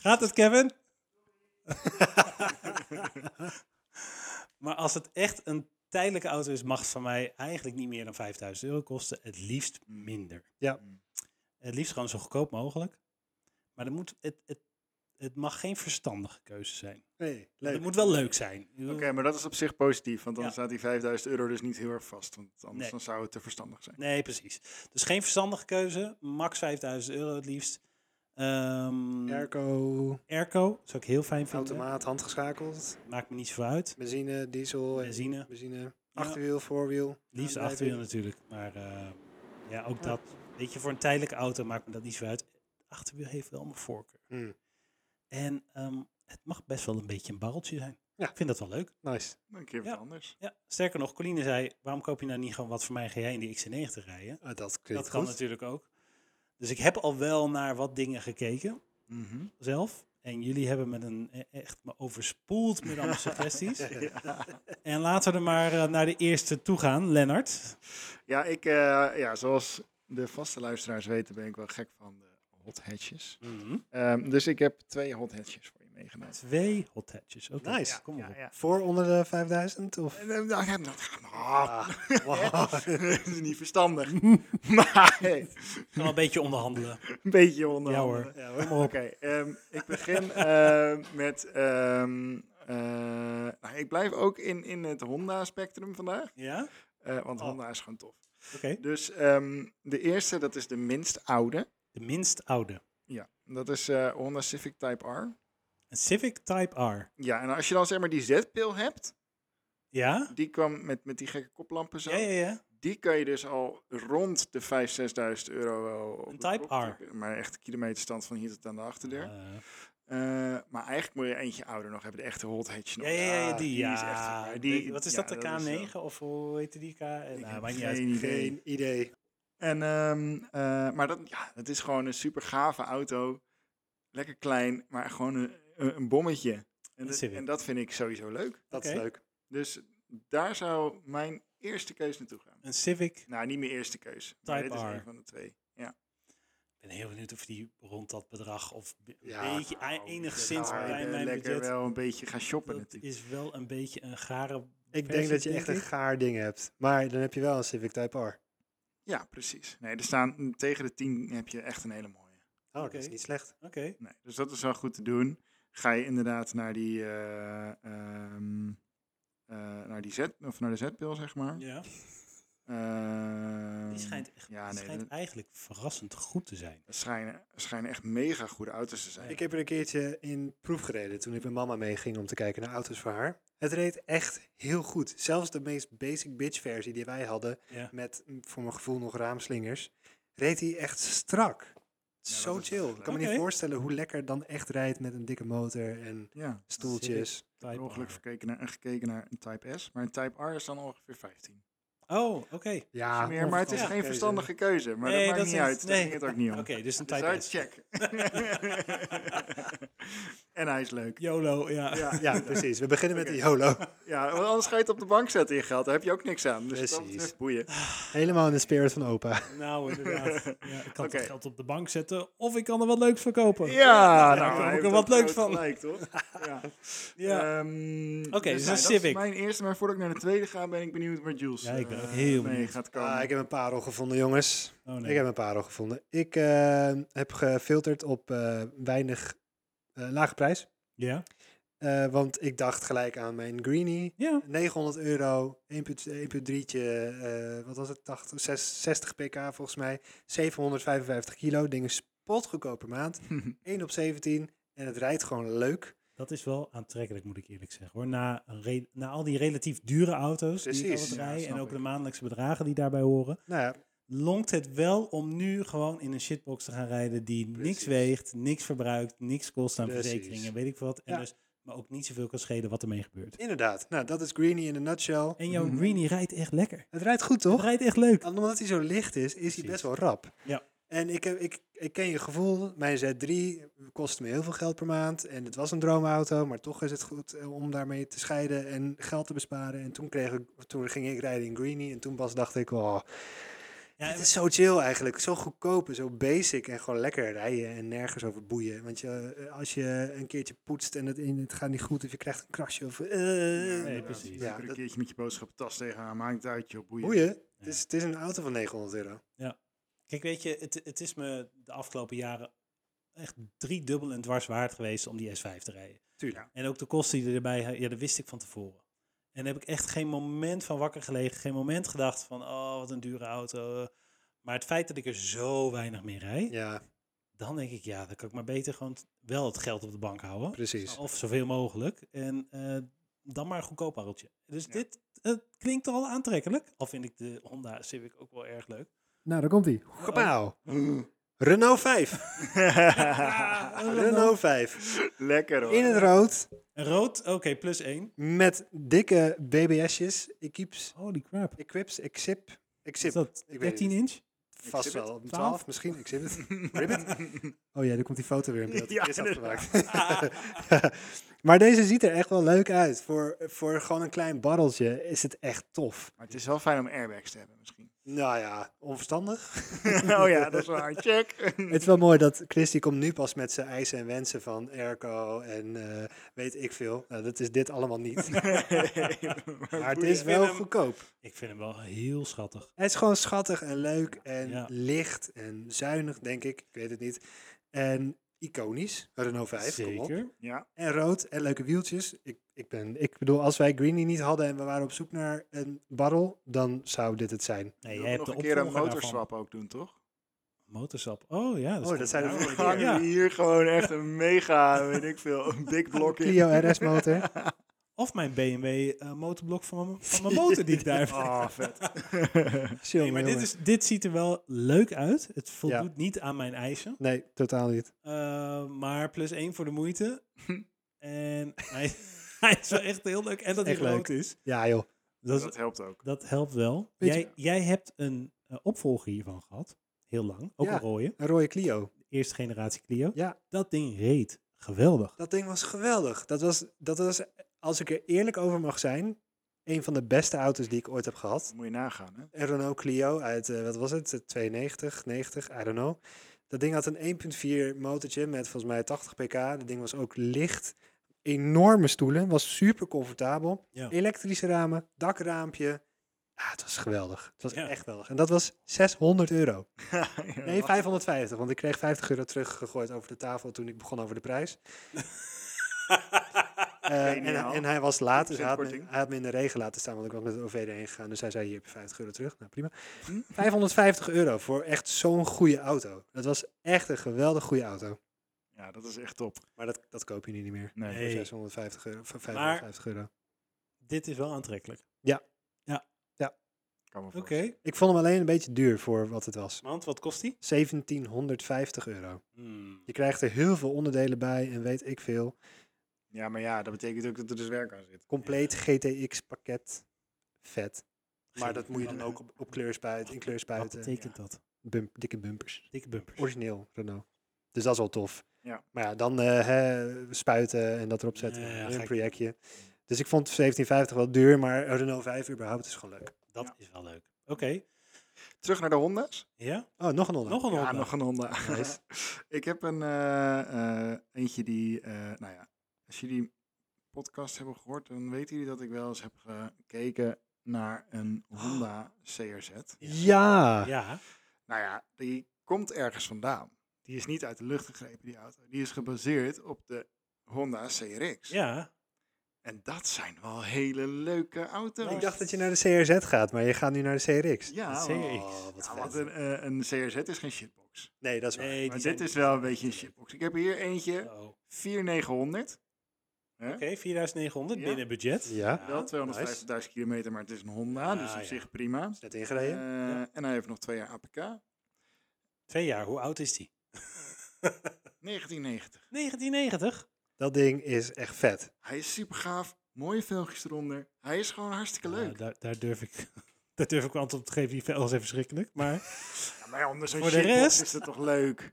Speaker 2: Gaat het, Kevin? maar als het echt een tijdelijke auto is mag van mij eigenlijk niet meer dan 5000 euro kosten. Het liefst minder.
Speaker 3: Ja.
Speaker 2: Het liefst gewoon zo goedkoop mogelijk. Maar er moet, het, het, het mag geen verstandige keuze zijn.
Speaker 3: Hey,
Speaker 2: Het
Speaker 3: leuk.
Speaker 2: moet wel leuk zijn. Ik
Speaker 1: [LAUGHS]
Speaker 2: bedoel,
Speaker 1: Oké, maar dat is op zich positief, want dan
Speaker 2: Ja.
Speaker 1: staat die 5000 euro dus niet heel erg vast. Want anders
Speaker 2: Nee.
Speaker 1: dan zou het te verstandig zijn.
Speaker 2: Nee, precies. Dus geen verstandige keuze. Max 5000 euro het liefst. Ehm
Speaker 3: Airco,
Speaker 2: airco zou ik heel fijn vinden.
Speaker 3: automaat, handgeschakeld,
Speaker 2: Maakt me niet zoveel uit.
Speaker 3: benzine, diesel, en
Speaker 2: Benzine.
Speaker 3: benzine, achterwiel, voorwiel.
Speaker 2: Liefst
Speaker 3: aandrijving.
Speaker 2: achterwiel natuurlijk. Maar eh, ja, ook dat. Weet je, voor een tijdelijke auto maakt me dat niet zo uit. Achterwiel heeft wel mijn voorkeur.
Speaker 3: Hmm,
Speaker 2: En ehm, het mag best wel een beetje een barreltje zijn.
Speaker 3: Ja.
Speaker 2: Ik vind dat wel leuk.
Speaker 3: nice.
Speaker 1: Dan een keer wat
Speaker 2: Ja.
Speaker 1: anders.
Speaker 2: Ja. Sterker nog, Coline zei, waarom koop je nou niet gewoon wat voor mij ga jij in de XC90 rijden?
Speaker 3: Ah, dat klinkt
Speaker 2: Dat kan
Speaker 3: goed.
Speaker 2: natuurlijk ook. Dus ik heb al wel naar wat dingen gekeken
Speaker 1: Mhm.
Speaker 2: zelf. En jullie hebben met een e- echt me overspoeld met allemaal suggesties. En laten we er maar eh, naar de eerste toe gaan, Lennart.
Speaker 1: Ja, ik, eh, ja, zoals de vaste luisteraars weten, ben ik wel gek van de hot hatches. Ehm, dus ik heb twee hot hatches voor je meegenomen.
Speaker 2: Twee hot hatches. Oké,
Speaker 3: Nice.
Speaker 2: kom maar op.
Speaker 3: Voor onder de
Speaker 2: [LAUGHS]
Speaker 3: 5000? Of?
Speaker 1: Eh, nou, ja, nou, ah,
Speaker 3: Ah,
Speaker 1: [LAUGHS] dat is niet verstandig.
Speaker 2: [LAUGHS]
Speaker 1: maar hey,
Speaker 2: Kan wel een beetje onderhandelen.
Speaker 1: een beetje onder.
Speaker 2: [LAUGHS] Ja
Speaker 1: andere.
Speaker 2: hoor.
Speaker 3: ja,
Speaker 2: Kom
Speaker 3: hoor.
Speaker 2: maar op.
Speaker 1: Oké, ehm, ik begin ehm, met. ehm, eh, nou, ik blijf ook in, in het Honda-spectrum vandaag,
Speaker 2: Ja?
Speaker 1: eh, want
Speaker 2: Oh.
Speaker 1: Honda is gewoon tof.
Speaker 2: Oké.
Speaker 1: Dus ehm, de eerste, dat is de minst oude.
Speaker 2: De minst oude.
Speaker 1: Ja, dat is eh, Honda Civic Type R.
Speaker 2: Een Civic Type R.
Speaker 1: Ja, en als je dan zeg maar die Z-pil hebt,
Speaker 2: Ja?
Speaker 1: die kwam met, met die gekke koplampen zo.
Speaker 2: Ja, ja, ja.
Speaker 1: Die kan je dus al rond de 5.000, 6.000 euro wel. op
Speaker 2: Een
Speaker 1: de
Speaker 2: Type
Speaker 1: kop
Speaker 2: R.
Speaker 1: tikken. Maar echt kilometerstand van hier tot aan de achterdeur.
Speaker 2: Eh,
Speaker 1: Eh, maar eigenlijk moet je eentje ouder nog hebben, de echte hot hatch nog.
Speaker 2: ja, ja, ja, die.
Speaker 1: is echt
Speaker 2: Ja.
Speaker 1: waar.
Speaker 2: De- wat is
Speaker 1: ja,
Speaker 2: dat, de
Speaker 1: wel-
Speaker 2: K9? Of hoe heette die K? eh,
Speaker 1: Ik
Speaker 2: Nou,
Speaker 1: heb
Speaker 2: maakt niet uit.
Speaker 1: geen idee.
Speaker 3: Geen idee.
Speaker 1: En, ehm, eh, maar dat, ja, het is gewoon een super gave auto. Lekker klein, maar gewoon een, een, een bommetje. En, dat-
Speaker 2: Civic.
Speaker 1: en dat vind ik sowieso leuk.
Speaker 3: Dat is
Speaker 2: Oké.
Speaker 3: leuk.
Speaker 1: Dus daar zou mijn eerste keus naartoe gaan.
Speaker 2: Een Civic.
Speaker 1: Nou, niet mijn eerste keus. maar
Speaker 2: Type
Speaker 1: dit is
Speaker 2: R.
Speaker 1: een van de twee. Ja.
Speaker 2: Ik ben heel benieuwd of die rond dat bedrag of een
Speaker 3: Ja,
Speaker 2: beetje
Speaker 1: nou,
Speaker 2: ei- enigszins
Speaker 1: Waar
Speaker 2: bij
Speaker 1: je
Speaker 2: mijn
Speaker 1: lekker
Speaker 2: budget.
Speaker 1: wel een beetje gaan shoppen
Speaker 2: Dat
Speaker 1: natuurlijk.
Speaker 2: is wel een beetje een gare.
Speaker 3: Ik denk
Speaker 2: versie,
Speaker 3: dat je echt een
Speaker 2: ik.
Speaker 3: gaar ding hebt. Maar dan heb je wel een Civic Type R. Oh,
Speaker 1: Ja, precies. Nee, er staan mm, tegen de tien heb je echt een hele mooie.
Speaker 3: Oh,
Speaker 2: Oké.
Speaker 3: dat is niet slecht.
Speaker 2: Oké.
Speaker 1: Nee, dus dat is wel goed te doen. Ga je inderdaad naar die, eh, ehm, eh, naar die Z, of naar de Z-pil, zeg maar.
Speaker 2: Ja.
Speaker 1: Ehm,
Speaker 2: Die schijnt, echt,
Speaker 1: ja,
Speaker 2: die
Speaker 1: nee,
Speaker 2: schijnt
Speaker 1: dat-
Speaker 2: eigenlijk verrassend goed te zijn.
Speaker 1: dat schijnen, schijnen echt mega goede auto's te zijn.
Speaker 3: Ik heb er een keertje in proef gereden toen ik met mama meeging om te kijken naar auto's voor haar. Het reed echt heel goed. Zelfs de meest basic bitch versie die wij hadden,
Speaker 2: Ja.
Speaker 3: met mm, voor mijn gevoel nog raamslingers, reed hij echt strak. Zo
Speaker 1: dat is wel
Speaker 3: chill.
Speaker 1: echt
Speaker 3: Ik kan me
Speaker 2: leuk.
Speaker 3: niet
Speaker 2: Oké.
Speaker 3: voorstellen hoe lekker het dan echt rijdt met een dikke motor en
Speaker 1: Ja,
Speaker 3: stoeltjes.
Speaker 1: per
Speaker 2: Type
Speaker 1: ongeluk
Speaker 2: R.
Speaker 1: gekeken naar, gekeken naar een Type S. Maar een Type R is dan ongeveer 15.
Speaker 2: Oh, oké.
Speaker 3: Ja,
Speaker 1: meer, maar het is
Speaker 2: ja,
Speaker 1: geen verstandige keuze. Maar
Speaker 2: Nee,
Speaker 1: dat maakt
Speaker 2: dat
Speaker 1: niet
Speaker 2: is-
Speaker 1: uit.
Speaker 2: nee.
Speaker 1: Dat ging het ook niet om.
Speaker 2: Oké, dus een
Speaker 1: Dus
Speaker 2: Type
Speaker 1: uit,
Speaker 2: S. [LAUGHS]
Speaker 1: check. en hij is leuk.
Speaker 2: YOLO, ja.
Speaker 1: Ja,
Speaker 3: Ja, precies. We beginnen met de
Speaker 1: [LAUGHS]
Speaker 3: YOLO.
Speaker 1: ja, want anders ga je het op de bank zetten in geld. Daar heb je ook niks aan. Dus dat
Speaker 3: Precies.
Speaker 1: betreft boeien.
Speaker 3: Helemaal in de spirit van opa.
Speaker 2: [LAUGHS]
Speaker 1: [LAUGHS]
Speaker 2: Nou, inderdaad. Ja, ik kan
Speaker 1: Oké.
Speaker 2: het geld op de bank zetten of ik kan er wat leuks van kopen.
Speaker 1: Ja,
Speaker 2: daar
Speaker 1: nou,
Speaker 2: kom
Speaker 1: hij
Speaker 2: ik
Speaker 1: heeft
Speaker 2: er wat
Speaker 1: ook
Speaker 2: leuks
Speaker 1: groot
Speaker 2: van.
Speaker 1: Gelijk, toch?
Speaker 2: [LAUGHS]
Speaker 1: Ja.
Speaker 2: Ja.
Speaker 1: Ehm,
Speaker 2: Oké, dus
Speaker 1: nou,
Speaker 2: een
Speaker 1: dat is
Speaker 2: Civic.
Speaker 1: mijn eerste, maar voordat ik naar de tweede ga, ben ik benieuwd waar Jules
Speaker 2: Ja, ik ben
Speaker 1: eh,
Speaker 2: ook heel
Speaker 1: mee
Speaker 2: benieuwd.
Speaker 1: gaat komen.
Speaker 3: Ah, ik heb een parel gevonden, jongens.
Speaker 2: Oh, nee.
Speaker 3: Ik heb een parel gevonden. Ik eh, heb gefilterd op eh, weinig eh, lage prijs.
Speaker 2: Ja.
Speaker 3: Eh, want ik dacht gelijk aan mijn Greenie.
Speaker 2: Ja.
Speaker 3: 900 euro, 1.3'tje, eh wat was het, 80, 6, 60 pk volgens mij. 755 kilo, dingen spotgoedkoop per maand. 1 op 17 en het rijdt gewoon leuk.
Speaker 2: Dat is wel aantrekkelijk, moet ik eerlijk zeggen. Hoor. Na, een re- na al die relatief dure auto's die ik
Speaker 3: Precies.
Speaker 2: altijd
Speaker 1: Ja,
Speaker 2: rij
Speaker 1: snap
Speaker 2: en ook
Speaker 1: ik.
Speaker 2: de maandelijkse bedragen die daarbij horen,
Speaker 3: Nou ja,
Speaker 2: longt het wel om nu gewoon in een shitbox te gaan rijden die niks
Speaker 3: Precies.
Speaker 2: weegt, niks verbruikt, niks kost aan
Speaker 3: Precies.
Speaker 2: verzekeringen, weet ik wat. En
Speaker 3: Ja.
Speaker 2: dus, maar ook niet zoveel kan schelen wat ermee gebeurt.
Speaker 3: inderdaad. Nou, dat is Greenie in een nutshell.
Speaker 2: En jouw Greenie rijdt echt lekker.
Speaker 3: Het rijdt goed,
Speaker 2: Het
Speaker 3: Mhm. toch?
Speaker 2: rijdt echt leuk.
Speaker 3: En Omdat hij zo licht is, is hij
Speaker 2: Precies.
Speaker 3: best wel rap.
Speaker 2: Ja.
Speaker 3: En ik, heb, ik, ik ken je gevoel. Mijn Z3 kostte me heel veel geld per maand. En het was een droomauto, maar toch is het goed eh, om daarmee te scheiden en geld te besparen. En toen, kreeg ik, toen ging ik rijden in Greenie. En toen pas dacht ik, oh,
Speaker 2: Ja,
Speaker 3: het is zo chill eigenlijk. Zo goedkoop en zo basic. En gewoon lekker rijden en nergens over boeien. Want je, eh, als je een keertje poetst en het, en het gaat niet goed of je krijgt een krasje of... eh,
Speaker 2: Nee,
Speaker 1: inderdaad.
Speaker 2: precies.
Speaker 1: Je
Speaker 3: Ja,
Speaker 1: kunt er een
Speaker 3: dat-
Speaker 1: keertje met je boodschappentas tegenaan, maakt het uit, joh, boeien.
Speaker 3: boeien. Het, is, het is een auto van 900 euro.
Speaker 2: Kijk, weet je, het, het is me de afgelopen jaren echt driedubbel en dwars waard geweest om die S5 te rijden.
Speaker 3: Tuurlijk.
Speaker 2: En ook de kosten die erbij, ja, dat wist ik van tevoren. En daar heb ik echt geen moment van wakker gelegen, geen moment gedacht van, oh, wat een dure auto. Maar het feit dat ik er zo weinig mee rijd,
Speaker 3: Ja,
Speaker 2: dan denk ik, ja, dan kan ik maar beter gewoon t- wel het geld op de bank houden.
Speaker 3: precies.
Speaker 2: Of zoveel mogelijk. En eh, dan maar een goedkoop pareltje. Dus
Speaker 1: Ja.
Speaker 2: dit eh, klinkt al aantrekkelijk. Al vind ik de Honda Civic ook wel erg leuk.
Speaker 3: Nou, daar komt hij. Gebouw. Renault [LAUGHS] 5.
Speaker 2: Ah, een Renault.
Speaker 3: Renault 5.
Speaker 1: [LAUGHS] Lekker hoor.
Speaker 3: In het rood.
Speaker 2: Een rood, oké, plus één.
Speaker 3: Met dikke BBS'jes. Equips.
Speaker 2: Holy crap.
Speaker 3: Equips. Exip.
Speaker 2: Is
Speaker 3: Exip.
Speaker 2: dat
Speaker 3: weet
Speaker 2: 13 inch?
Speaker 3: Vast
Speaker 1: Exhibit?
Speaker 3: wel. Om
Speaker 2: 12?
Speaker 3: 12 misschien. Exhibit. Ribbit. [LAUGHS] Oh [LAUGHS] ja, daar komt die foto weer in beeld.
Speaker 1: Ja,
Speaker 3: Die is afgemaakt. [LAUGHS] maar deze ziet er echt wel leuk uit. Voor, voor gewoon een klein barreltje is het echt tof.
Speaker 1: Maar het is wel fijn om airbags te hebben
Speaker 2: [LAUGHS]
Speaker 1: misschien.
Speaker 3: Nou ja, onverstandig.
Speaker 1: oh ja, dat is waar. Check.
Speaker 3: [LAUGHS]
Speaker 1: [LAUGHS]
Speaker 3: Het is wel mooi dat Chris die komt nu pas met zijn eisen en wensen van airco en eh, weet ik veel. Nou, dat is dit allemaal niet. [LAUGHS] Maar het is wel
Speaker 2: vind hem-
Speaker 3: goedkoop.
Speaker 2: Ik vind hem wel heel schattig.
Speaker 3: Het is gewoon schattig en leuk en
Speaker 2: Ja.
Speaker 3: licht en zuinig, denk ik. Ik weet het niet. En iconisch. Renault 5, kom op.
Speaker 2: Zeker.
Speaker 1: Ja,
Speaker 3: En rood en leuke wieltjes. Ik, ik, ben, ik bedoel, als wij Greenie niet hadden en we waren op zoek naar een barrel, dan zou dit het zijn.
Speaker 2: Nee,
Speaker 1: je
Speaker 2: jij hebt
Speaker 1: nog
Speaker 2: de
Speaker 1: een keer een
Speaker 2: opvolger daarvan.
Speaker 1: motorswap ook doen, toch?
Speaker 2: Motorswap. Oh ja.
Speaker 3: Oh, dat zijn de
Speaker 1: We
Speaker 3: vorige
Speaker 2: Ja.
Speaker 3: keer.
Speaker 1: hangen hier gewoon echt een mega, weet ik veel, een dik blok in. [LAUGHS]
Speaker 3: Clio RS
Speaker 2: [LAUGHS]
Speaker 3: motor.
Speaker 2: Of mijn BMW eh, motorblok van mijn, van mijn motor die ik daar heb.
Speaker 1: Oh, vet.
Speaker 3: Chill,
Speaker 2: Nee, maar dit,
Speaker 3: jongen.
Speaker 2: is, dit ziet er wel leuk uit. Het voldoet niet aan mijn eisen.
Speaker 3: Nee, totaal niet.
Speaker 2: Eh, maar plus één voor de moeite. en hij, [LAUGHS] hij is wel echt heel leuk. En dat hij
Speaker 3: Echt leuk.
Speaker 2: groot is.
Speaker 3: Ja joh.
Speaker 2: Dat,
Speaker 1: Dat
Speaker 2: is,
Speaker 1: helpt ook.
Speaker 2: dat helpt wel.
Speaker 3: Weet
Speaker 2: Jij, jij hebt een eh, opvolger hiervan gehad. Heel lang. Ook
Speaker 3: Ja.
Speaker 2: een rode.
Speaker 3: Een rode Clio.
Speaker 2: Eerste generatie Clio.
Speaker 3: Ja.
Speaker 2: Dat ding reed. Geweldig.
Speaker 3: Dat ding was geweldig. Dat was, dat was, als ik er eerlijk over mag zijn, een van de beste auto's die ik ooit heb gehad.
Speaker 1: Dat moet je nagaan, hè?
Speaker 3: Een Renault Clio uit, eh, wat was het, Eh, 92, 90, I don't know. Dat ding had een 1.4 motortje met volgens mij 80 pk. Dat ding was ook licht. Enorme stoelen, was super comfortabel.
Speaker 2: Ja.
Speaker 3: Elektrische ramen, dakraampje. Ah, het was geweldig. Het was
Speaker 2: Ja.
Speaker 3: echt geweldig. En dat was 600 euro.
Speaker 1: Ja,
Speaker 3: Nee,
Speaker 1: wacht.
Speaker 3: 550, want ik kreeg 50 euro teruggegooid over de tafel toen ik begon over de prijs.
Speaker 1: [LAUGHS]
Speaker 3: Eh, en,
Speaker 1: Geniaal.
Speaker 3: en hij was laat, dus hij
Speaker 1: 10%
Speaker 3: had, me,
Speaker 1: korting.
Speaker 3: hij had me in de regen laten staan, want ik was met het OV erheen gegaan. Dus hij zei, hier heb je 50 euro terug. Nou, prima.
Speaker 1: Hm?
Speaker 3: 550 euro voor echt zo'n goede auto. Dat was echt een geweldig goede auto.
Speaker 1: Ja, dat is echt top.
Speaker 3: Maar dat, dat koop je nu niet meer.
Speaker 1: Nee.
Speaker 2: Nee.
Speaker 3: Voor 650 euro, voor 550 euro.
Speaker 2: Dit is wel aantrekkelijk.
Speaker 1: Kan me
Speaker 2: Oké.
Speaker 1: voorstellen.
Speaker 3: Ik vond hem alleen een beetje duur voor wat het was.
Speaker 2: Want wat kost die?
Speaker 3: 1750 euro.
Speaker 2: Hmm.
Speaker 3: Je krijgt er heel veel onderdelen bij en weet ik veel.
Speaker 1: Ja, maar ja, dat betekent ook dat er dus werk aan zit.
Speaker 3: Compleet GTX pakket. Vet. Maar
Speaker 2: Geen
Speaker 3: dat moet je dan
Speaker 2: idee.
Speaker 3: ook op, op kleur spuiten, in kleur
Speaker 2: Wat
Speaker 3: spuiten.
Speaker 2: betekent dat?
Speaker 3: Bump- dikke bumpers.
Speaker 2: Dikke bumpers.
Speaker 3: Origineel Renault. Dus dat is wel tof.
Speaker 1: Ja.
Speaker 3: Maar ja, dan eh, hè, spuiten en dat erop zetten.
Speaker 2: Nee, ja,
Speaker 3: en
Speaker 2: ga
Speaker 3: een
Speaker 2: ik-
Speaker 3: projectje. Dus ik vond 1750 wel duur, maar een Renault 5 überhaupt is gewoon leuk.
Speaker 2: Dat
Speaker 1: Ja.
Speaker 2: is wel leuk. Oké.
Speaker 1: Terug naar de Honda's.
Speaker 2: Ja?
Speaker 3: Oh, nog een onder.
Speaker 2: Nog een
Speaker 1: Ja,
Speaker 2: Honda.
Speaker 1: nog een Honda.
Speaker 3: Nice.
Speaker 1: [LAUGHS] ik heb een eh, eh, eentje die, eh, nou ja, als jullie podcast hebben gehoord, dan weten jullie dat ik wel eens heb gekeken naar een
Speaker 3: Oh.
Speaker 1: Honda CRZ.
Speaker 3: Ja.
Speaker 2: Ja.
Speaker 1: Nou ja, die komt ergens vandaan. Die is niet uit de lucht gegrepen, die auto. Die is gebaseerd op de Honda CRX.
Speaker 2: Ja.
Speaker 1: En dat zijn wel hele leuke auto's.
Speaker 3: Ik dacht dat je naar de CRZ gaat, maar je gaat nu naar de CRX.
Speaker 1: Ja,
Speaker 2: de
Speaker 1: want-
Speaker 2: CRX.
Speaker 3: Oh, wat
Speaker 1: ja,
Speaker 3: vet.
Speaker 1: want een, eh, een CRZ is geen shitbox.
Speaker 3: Nee, dat is waar.
Speaker 2: Nee, die
Speaker 1: Maar
Speaker 2: zijn-
Speaker 1: dit is wel een beetje een shitbox. Ik heb hier eentje,
Speaker 2: Oh.
Speaker 1: 4900. Hè?
Speaker 2: Oké, 4900
Speaker 1: Ja.
Speaker 2: binnen budget.
Speaker 3: Ja.
Speaker 1: Wel 250.000 kilometer, maar het is een Honda, dus
Speaker 2: Ah,
Speaker 1: op
Speaker 2: ja.
Speaker 1: zich prima.
Speaker 3: Net ingereden.
Speaker 1: Eh, En hij heeft nog twee jaar APK.
Speaker 2: Twee jaar, hoe oud is die?
Speaker 1: 1990.
Speaker 2: 1990?
Speaker 3: dat ding is echt vet.
Speaker 1: Hij is super gaaf, mooie velgjes eronder. Hij is gewoon hartstikke
Speaker 2: Nou,
Speaker 1: leuk.
Speaker 2: daar, daar durf ik... [LAUGHS] Daar durf ik wel antwoord op te geven, die velgen zijn verschrikkelijk. [LAUGHS] Maar
Speaker 1: Ja, maar ja, onder zo'n
Speaker 2: Voor de
Speaker 1: shitbox
Speaker 2: rest-
Speaker 1: is het toch leuk?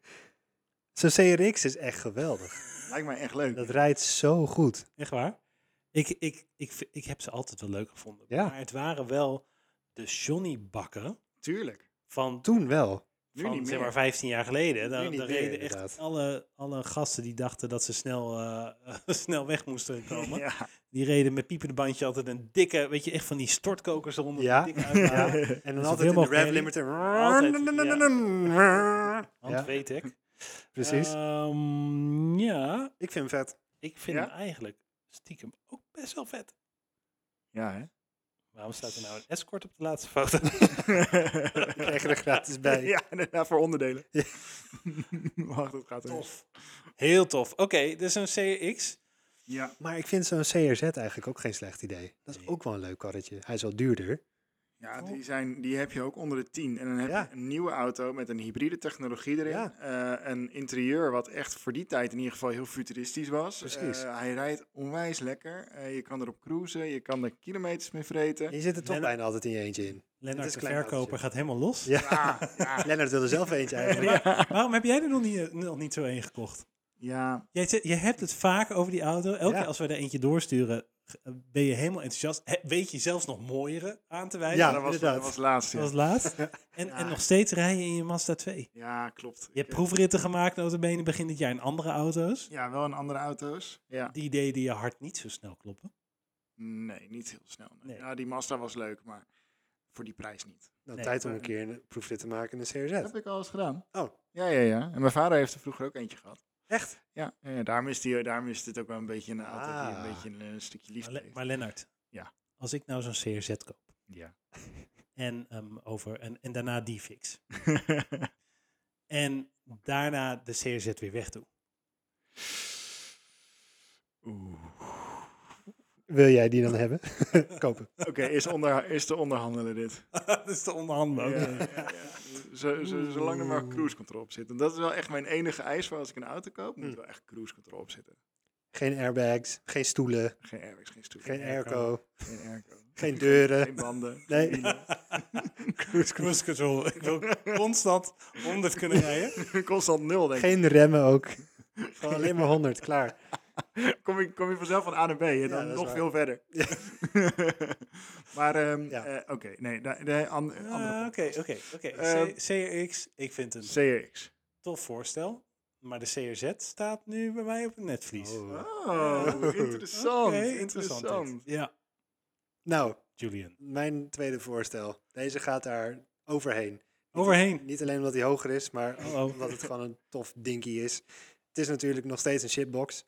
Speaker 3: Zo'n CRX is echt geweldig.
Speaker 1: Lijkt mij echt leuk.
Speaker 3: Dat rijdt zo goed.
Speaker 2: echt waar. Ik, ik, ik, v- ik heb ze altijd wel leuk gevonden.
Speaker 3: Ja.
Speaker 2: Maar het waren wel de Johnny bakken
Speaker 1: Tuurlijk.
Speaker 2: van,
Speaker 3: Toen wel.
Speaker 1: Nu
Speaker 2: van,
Speaker 1: niet
Speaker 2: zeg
Speaker 1: meer.
Speaker 2: maar 15 jaar geleden.
Speaker 3: Nu
Speaker 2: Daar,
Speaker 3: niet
Speaker 2: daar
Speaker 3: meer,
Speaker 2: reden echt
Speaker 3: inderdaad.
Speaker 2: alle, alle gasten die dachten dat ze snel, eh, [LAUGHS] snel weg moesten
Speaker 1: [LAUGHS]
Speaker 2: komen.
Speaker 1: ja.
Speaker 2: Die reden met piepende bandje altijd een dikke, weet je, echt van die stortkokers eronder.
Speaker 3: Ja.
Speaker 2: die dikke uitlaat.
Speaker 3: [LAUGHS] En
Speaker 2: Dus zoveel
Speaker 3: dan altijd in de
Speaker 2: mogelijk
Speaker 3: rev limiter.
Speaker 2: Hand
Speaker 3: Ja,
Speaker 2: weet ik.
Speaker 3: precies.
Speaker 2: Ehm, ja,
Speaker 3: Ik vind [LAUGHS] hem vet.
Speaker 2: ik vind
Speaker 1: Ja?
Speaker 2: hem eigenlijk stiekem ook best wel vet.
Speaker 1: ja, hè?
Speaker 2: Waarom staat er nou een escort op de laatste
Speaker 3: [LAUGHS]
Speaker 2: foto? [LAUGHS]
Speaker 3: Krijg je er gratis bij.
Speaker 1: [LAUGHS] ja, daarna voor onderdelen. [LAUGHS] Wacht, dat gaat er.
Speaker 2: tof. Heel tof. Oké, dus een CX.
Speaker 1: Ja,
Speaker 3: Maar ik vind zo'n CRZ eigenlijk ook geen slecht idee. Dat is
Speaker 2: Nee.
Speaker 3: ook wel een leuk karretje. Hij is wel duurder.
Speaker 1: ja die, zijn, die heb je ook onder de 10. En dan heb
Speaker 3: Ja.
Speaker 1: je een nieuwe auto met een hybride technologie erin.
Speaker 3: Ja.
Speaker 1: eh, een interieur wat echt voor die tijd in ieder geval heel futuristisch was.
Speaker 3: Precies.
Speaker 1: Eh, hij rijdt onwijs lekker. Eh, je kan erop cruisen, je kan er kilometers mee vreten.
Speaker 3: En je zit er toch
Speaker 2: Lennart-
Speaker 3: bijna altijd in je eentje in.
Speaker 2: Lennart
Speaker 3: is
Speaker 2: de
Speaker 3: een klein
Speaker 2: verkoper
Speaker 3: autootje.
Speaker 2: gaat helemaal los. [LAUGHS]
Speaker 3: [LAUGHS] Ja.
Speaker 1: Ja, ja.
Speaker 3: [LAUGHS] Lennart wilde zelf eentje eigenlijk.
Speaker 2: Waarom heb jij er nog niet, nog niet zo een gekocht?
Speaker 1: ja.
Speaker 2: Jij, zegt- je hebt het vaak over die auto. Elke
Speaker 3: Ja.
Speaker 2: keer als we er eentje doorsturen, g- ben je helemaal enthousiast. He- weet je zelfs nog mooiere aan te wijzen.
Speaker 3: Ja,
Speaker 1: dat, was,
Speaker 3: inderdaad.
Speaker 1: dat was laatst. Ja,
Speaker 2: Zoals laatst. En, en
Speaker 1: [LAUGHS] Ja.
Speaker 2: nog steeds rij je in je Mazda 2.
Speaker 1: Ja, klopt.
Speaker 2: Je hebt
Speaker 1: Ik,
Speaker 2: proefritten gemaakt, notabene begin dit jaar, in andere auto's.
Speaker 1: eh, ja, wel in andere auto's. Ja.
Speaker 2: Die deden je hart niet zo snel kloppen.
Speaker 1: Nee, niet heel snel. nee.
Speaker 2: Nee.
Speaker 1: Ja, die Mazda was leuk, maar voor die prijs niet.
Speaker 3: Dan
Speaker 2: Nee.
Speaker 3: tijd om een keer een proefrit te maken in een
Speaker 1: Dat
Speaker 3: CRZ.
Speaker 1: heb ik al eens gedaan.
Speaker 3: Oh,
Speaker 1: Ja, ja, ja. En mijn vader heeft er vroeger ook eentje gehad.
Speaker 3: echt?
Speaker 1: Ja, ja, ja, daarom, is die, daarom is dit ook wel een beetje een auto die
Speaker 3: Ah.
Speaker 1: een beetje een, eh, stukje
Speaker 2: Maar,
Speaker 1: liefde
Speaker 2: Le-
Speaker 1: heeft.
Speaker 2: maar Lennart,
Speaker 1: Ja.
Speaker 2: als ik nou zo'n CRZ koop
Speaker 1: Ja.
Speaker 2: en, ehm, over, en, en daarna die
Speaker 1: [LAUGHS]
Speaker 2: fix en daarna de CRZ weer wegdoe.
Speaker 1: Oeh.
Speaker 3: Wil jij die dan [LAUGHS] hebben? Kopen.
Speaker 1: Oké, is, onder, is te onderhandelen
Speaker 3: [LAUGHS]
Speaker 1: dit.
Speaker 2: [LAUGHS] dat is te onderhandelen.
Speaker 1: Ja,
Speaker 2: oké. [LAUGHS]
Speaker 1: ja, ja. Zo, zo, zolang er maar cruise control op zit. En dat is wel echt mijn enige eis voor als ik een auto koop. Moet
Speaker 3: Hm.
Speaker 1: er wel echt cruise control op zitten.
Speaker 3: Geen airbags, geen stoelen,
Speaker 1: Geen airbags, geen stoel,
Speaker 3: geen
Speaker 1: geen,
Speaker 3: airco,
Speaker 1: airco,
Speaker 3: geen deuren.
Speaker 1: geen banden.
Speaker 3: [LAUGHS] Nee.
Speaker 1: geen wielen. [LAUGHS]
Speaker 3: Cruise control.
Speaker 2: Cruise control. Ik wil constant 100 kunnen rijden.
Speaker 1: Constant nul, denk ik.
Speaker 3: Geen remmen [LAUGHS] ook. Gewoon alleen maar 100, klaar.
Speaker 1: kom, je, kom je vanzelf van A naar B en dan
Speaker 3: dat is
Speaker 1: nog
Speaker 3: waar.
Speaker 1: veel
Speaker 3: [LAUGHS]
Speaker 1: verder. [LAUGHS] maar ehm,
Speaker 3: Ja. Eh.
Speaker 1: eh, oké, nee, da- de an-
Speaker 2: Ah,
Speaker 1: [LAUGHS] andere
Speaker 2: Oké, oké, oké.
Speaker 1: Ehm.
Speaker 2: C- CRX, ik vind het een
Speaker 1: CX.
Speaker 2: tof voorstel. Maar de CRZ staat nu bij mij op het netvlies.
Speaker 3: Oh.
Speaker 1: Oh, interessant.
Speaker 2: Oké,
Speaker 1: interessant.
Speaker 2: dit. Ja,
Speaker 3: Nou,
Speaker 2: Julian.
Speaker 3: mijn tweede voorstel. Deze gaat daar overheen.
Speaker 2: Overheen.
Speaker 3: Niet alleen omdat hij hoger is, maar
Speaker 2: Oh, oh.
Speaker 3: omdat het gewoon
Speaker 2: [LAUGHS]
Speaker 3: een tof dinkie is. Het is natuurlijk nog steeds een shitbox.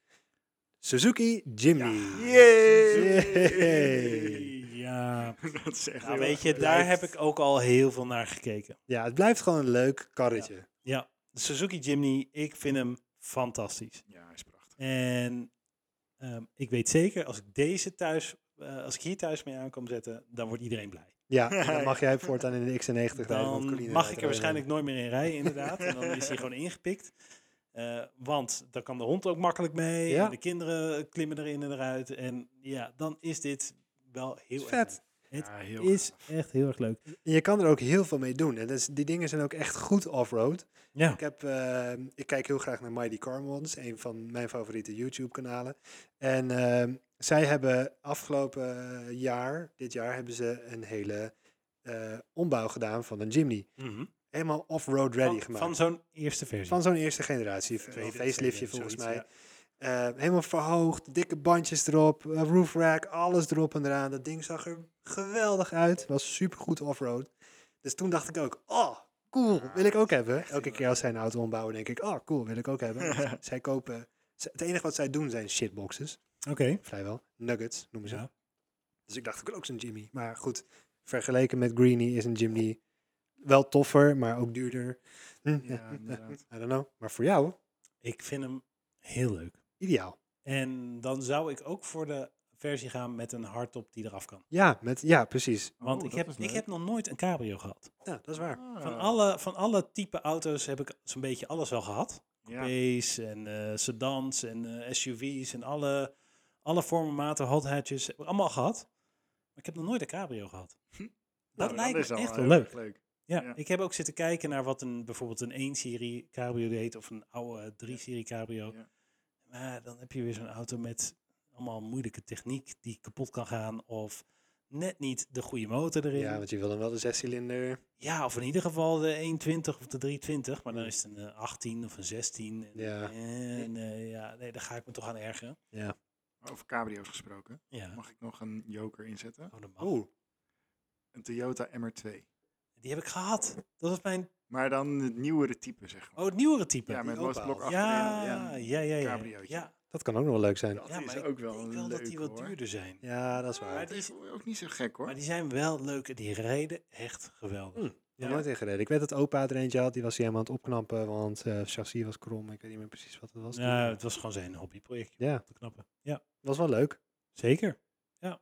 Speaker 3: Suzuki Jimny. Yay.
Speaker 2: Ja,
Speaker 1: [LAUGHS] Dat is echt
Speaker 2: nou,
Speaker 1: heel
Speaker 2: weet je,
Speaker 1: erg-
Speaker 2: daar
Speaker 3: lijkt-
Speaker 2: heb ik ook al heel veel naar gekeken.
Speaker 3: Ja, het blijft gewoon een leuk karretje.
Speaker 2: Ja, de Suzuki Jimny, ik vind hem fantastisch.
Speaker 1: Ja, hij is prachtig.
Speaker 2: En ehm, ik weet zeker, als ik deze thuis, eh, als ik hier thuis mee aan kan zetten, dan wordt iedereen blij.
Speaker 3: Ja, en dan mag jij voortaan in de X90 rijden. want
Speaker 2: Dan
Speaker 3: Coline
Speaker 2: mag
Speaker 3: rijdt
Speaker 2: ik er
Speaker 3: alleen
Speaker 2: waarschijnlijk nooit meer in rijden, inderdaad. En dan is hij gewoon ingepikt. Eh, want dan kan de hond ook makkelijk mee.
Speaker 3: Ja.
Speaker 2: En de kinderen klimmen erin en eruit. En ja, dan is dit wel heel erg
Speaker 3: Vet.
Speaker 2: leuk.
Speaker 1: Ja,
Speaker 2: Het
Speaker 1: heel
Speaker 2: is echt heel erg leuk.
Speaker 3: En je kan er ook heel veel mee doen. En dus, die dingen zijn ook echt goed off-road.
Speaker 2: Ja.
Speaker 3: Ik, heb, eh, ik kijk heel graag naar Mighty Car Mods, een van mijn favoriete YouTube-kanalen. En eh, zij hebben afgelopen eh, jaar, dit jaar, hebben ze een hele eh, ombouw gedaan van een Jimny. Helemaal off-road ready
Speaker 2: Mhm. Van,
Speaker 3: gemaakt.
Speaker 2: van zo'n eerste versie.
Speaker 3: Van zo'n eerste generatie,
Speaker 2: Tweede,
Speaker 3: een
Speaker 2: tweede,
Speaker 3: faceliftje volgens
Speaker 2: zoiets,
Speaker 3: mij.
Speaker 2: ja.
Speaker 3: Eh, helemaal verhoogd, dikke bandjes erop, eh, roof rack, alles erop en eraan. Dat ding zag er geweldig uit, was supergoed off-road. Dus toen dacht ik ook, oh, cool,
Speaker 2: Ah,
Speaker 3: wil ik ook hebben. Elke keer als zij een auto ombouwen, denk ik, oh, cool, wil ik ook hebben.
Speaker 2: [LAUGHS]
Speaker 3: Want zij kopen, ze- het enige wat zij doen zijn shitboxes,
Speaker 2: Oké.
Speaker 3: vrijwel. Nuggets noemen ze.
Speaker 2: Ja.
Speaker 3: Dus ik dacht, ik wil ook zo'n Jimmy. Maar goed, vergeleken met Greenie is een Jimny wel toffer, maar ook duurder. Hm,
Speaker 1: Ja, inderdaad.
Speaker 3: I don't know. Maar voor jou,
Speaker 2: Ik vind hem heel leuk.
Speaker 3: ideaal.
Speaker 2: En dan zou ik ook voor de versie gaan met een hardtop die eraf kan.
Speaker 3: Ja, met, ja precies.
Speaker 2: [LAUGHS] Want
Speaker 1: Oh,
Speaker 2: ik,
Speaker 1: dat
Speaker 2: heb,
Speaker 1: is
Speaker 2: ik
Speaker 1: leuk.
Speaker 2: heb nog nooit een cabrio gehad.
Speaker 3: Ja, dat is waar.
Speaker 1: Ah,
Speaker 2: Van, alle, van alle type auto's heb ik zo'n beetje alles wel gehad.
Speaker 1: ja. nou,
Speaker 2: coupés en eh, sedans en eh, SUV's en alle, alle vormen, maten, hot hatches. Heb ik allemaal gehad. Maar ik heb nog nooit een cabrio gehad. Dat
Speaker 1: Nou,
Speaker 2: lijkt
Speaker 1: is
Speaker 2: me
Speaker 1: al
Speaker 2: echt wel
Speaker 1: heel
Speaker 2: leuk.
Speaker 1: erg leuk.
Speaker 2: Ja,
Speaker 1: ja.
Speaker 2: ik heb ook zitten kijken naar wat een, bijvoorbeeld een 1-serie cabrio deed of een oude 3-serie cabrio.
Speaker 1: Ja.
Speaker 2: Maar dan heb je weer zo'n auto met allemaal moeilijke techniek die kapot kan gaan of net niet de goede motor erin.
Speaker 3: Ja, want je wil dan wel de zescilinder.
Speaker 2: Ja, of in ieder geval de 120 of de 320, maar dan is het een eh, 18 of een 16. En,
Speaker 3: Ja.
Speaker 2: en, eh, ja, nee, daar ga ik me toch aan ergeren.
Speaker 3: Ja.
Speaker 1: Over cabrio's gesproken.
Speaker 2: Ja.
Speaker 1: Mag ik nog een joker inzetten?
Speaker 2: Oh, dat mag.
Speaker 3: Oeh.
Speaker 1: Een Toyota MR2.
Speaker 2: Die heb ik gehad. Dat was mijn
Speaker 1: Maar dan het nieuwere type, zeg maar.
Speaker 2: oh, het nieuwere type.
Speaker 1: ja,
Speaker 3: die
Speaker 1: met losblok
Speaker 3: opa.
Speaker 1: achterin.
Speaker 2: ja, ja,
Speaker 1: en-
Speaker 2: ja, ja, ja.
Speaker 1: cabriootje.
Speaker 2: Ja,
Speaker 3: Dat kan ook nog wel leuk zijn.
Speaker 1: Dat
Speaker 2: ja,
Speaker 1: is
Speaker 2: maar ik
Speaker 1: ook wel
Speaker 2: denk
Speaker 1: een
Speaker 2: wel dat die
Speaker 1: leuke,
Speaker 2: wat
Speaker 1: hoor.
Speaker 2: duurder zijn.
Speaker 3: Ja, dat is waar.
Speaker 1: Maar
Speaker 3: Ik
Speaker 1: het is oh, ook niet zo gek, hoor.
Speaker 2: Maar die zijn wel leuk en die rijden echt geweldig.
Speaker 3: Hm. heb
Speaker 2: Ja.
Speaker 3: nooit ingereden. Ik weet dat opa er eentje had, die was hij helemaal aan het opknappen, want eh chassis was krom. Ik weet niet meer precies wat het was.
Speaker 2: Nou,
Speaker 3: toen.
Speaker 2: het was gewoon zijn hobbyprojectje.
Speaker 3: Ja,
Speaker 2: Te knappen. Ja,
Speaker 3: was wel leuk.
Speaker 2: zeker. Maar-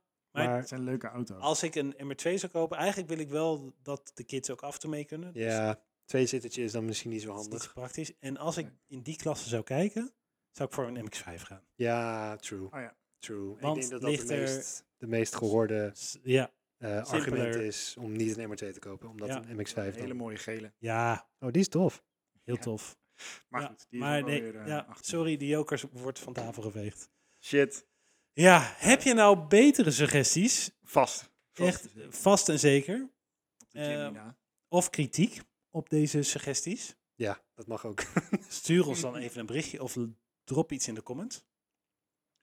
Speaker 3: Maar
Speaker 1: Het zijn leuke auto's.
Speaker 2: Als ik een MR2 zou kopen, eigenlijk wil ik wel dat de kids ook af en toe mee kunnen. Dus
Speaker 3: ja, twee zittertjes is dan misschien niet zo
Speaker 2: dat is niet zo
Speaker 3: handig.
Speaker 2: praktisch. En als ik in die klasse zou kijken, zou ik voor een MX5 gaan.
Speaker 3: Ja, true.
Speaker 1: Oh ja.
Speaker 3: True. Ik
Speaker 2: Want
Speaker 3: denk dat dat de
Speaker 2: ligt er-
Speaker 3: meest, de meest gehoorde
Speaker 2: S- Ja,
Speaker 3: eh, argument
Speaker 2: Simpeler.
Speaker 3: is om niet een MR2 te kopen, omdat
Speaker 2: Ja.
Speaker 3: een MX5
Speaker 1: Hele
Speaker 3: dan...
Speaker 1: mooie gele.
Speaker 2: ja
Speaker 3: Oh, die is tof.
Speaker 2: heel
Speaker 1: Ja.
Speaker 2: tof.
Speaker 1: Maar
Speaker 2: Ja,
Speaker 1: goed, die is
Speaker 2: maar
Speaker 1: wel
Speaker 2: nee,
Speaker 1: weer eh,
Speaker 2: ja,
Speaker 1: 18.
Speaker 2: sorry, de jokers wordt van tafel geveegd.
Speaker 1: Shit.
Speaker 2: Ja, heb je nou betere suggesties?
Speaker 1: Vast. Vast
Speaker 2: Echt eh,
Speaker 1: is het.
Speaker 2: vast en zeker.
Speaker 1: Op de Jimmy
Speaker 2: eh,
Speaker 1: na.
Speaker 2: Of kritiek op deze suggesties.
Speaker 3: Ja, dat mag ook.
Speaker 2: Stuur ons dan even een berichtje of drop iets in de comments.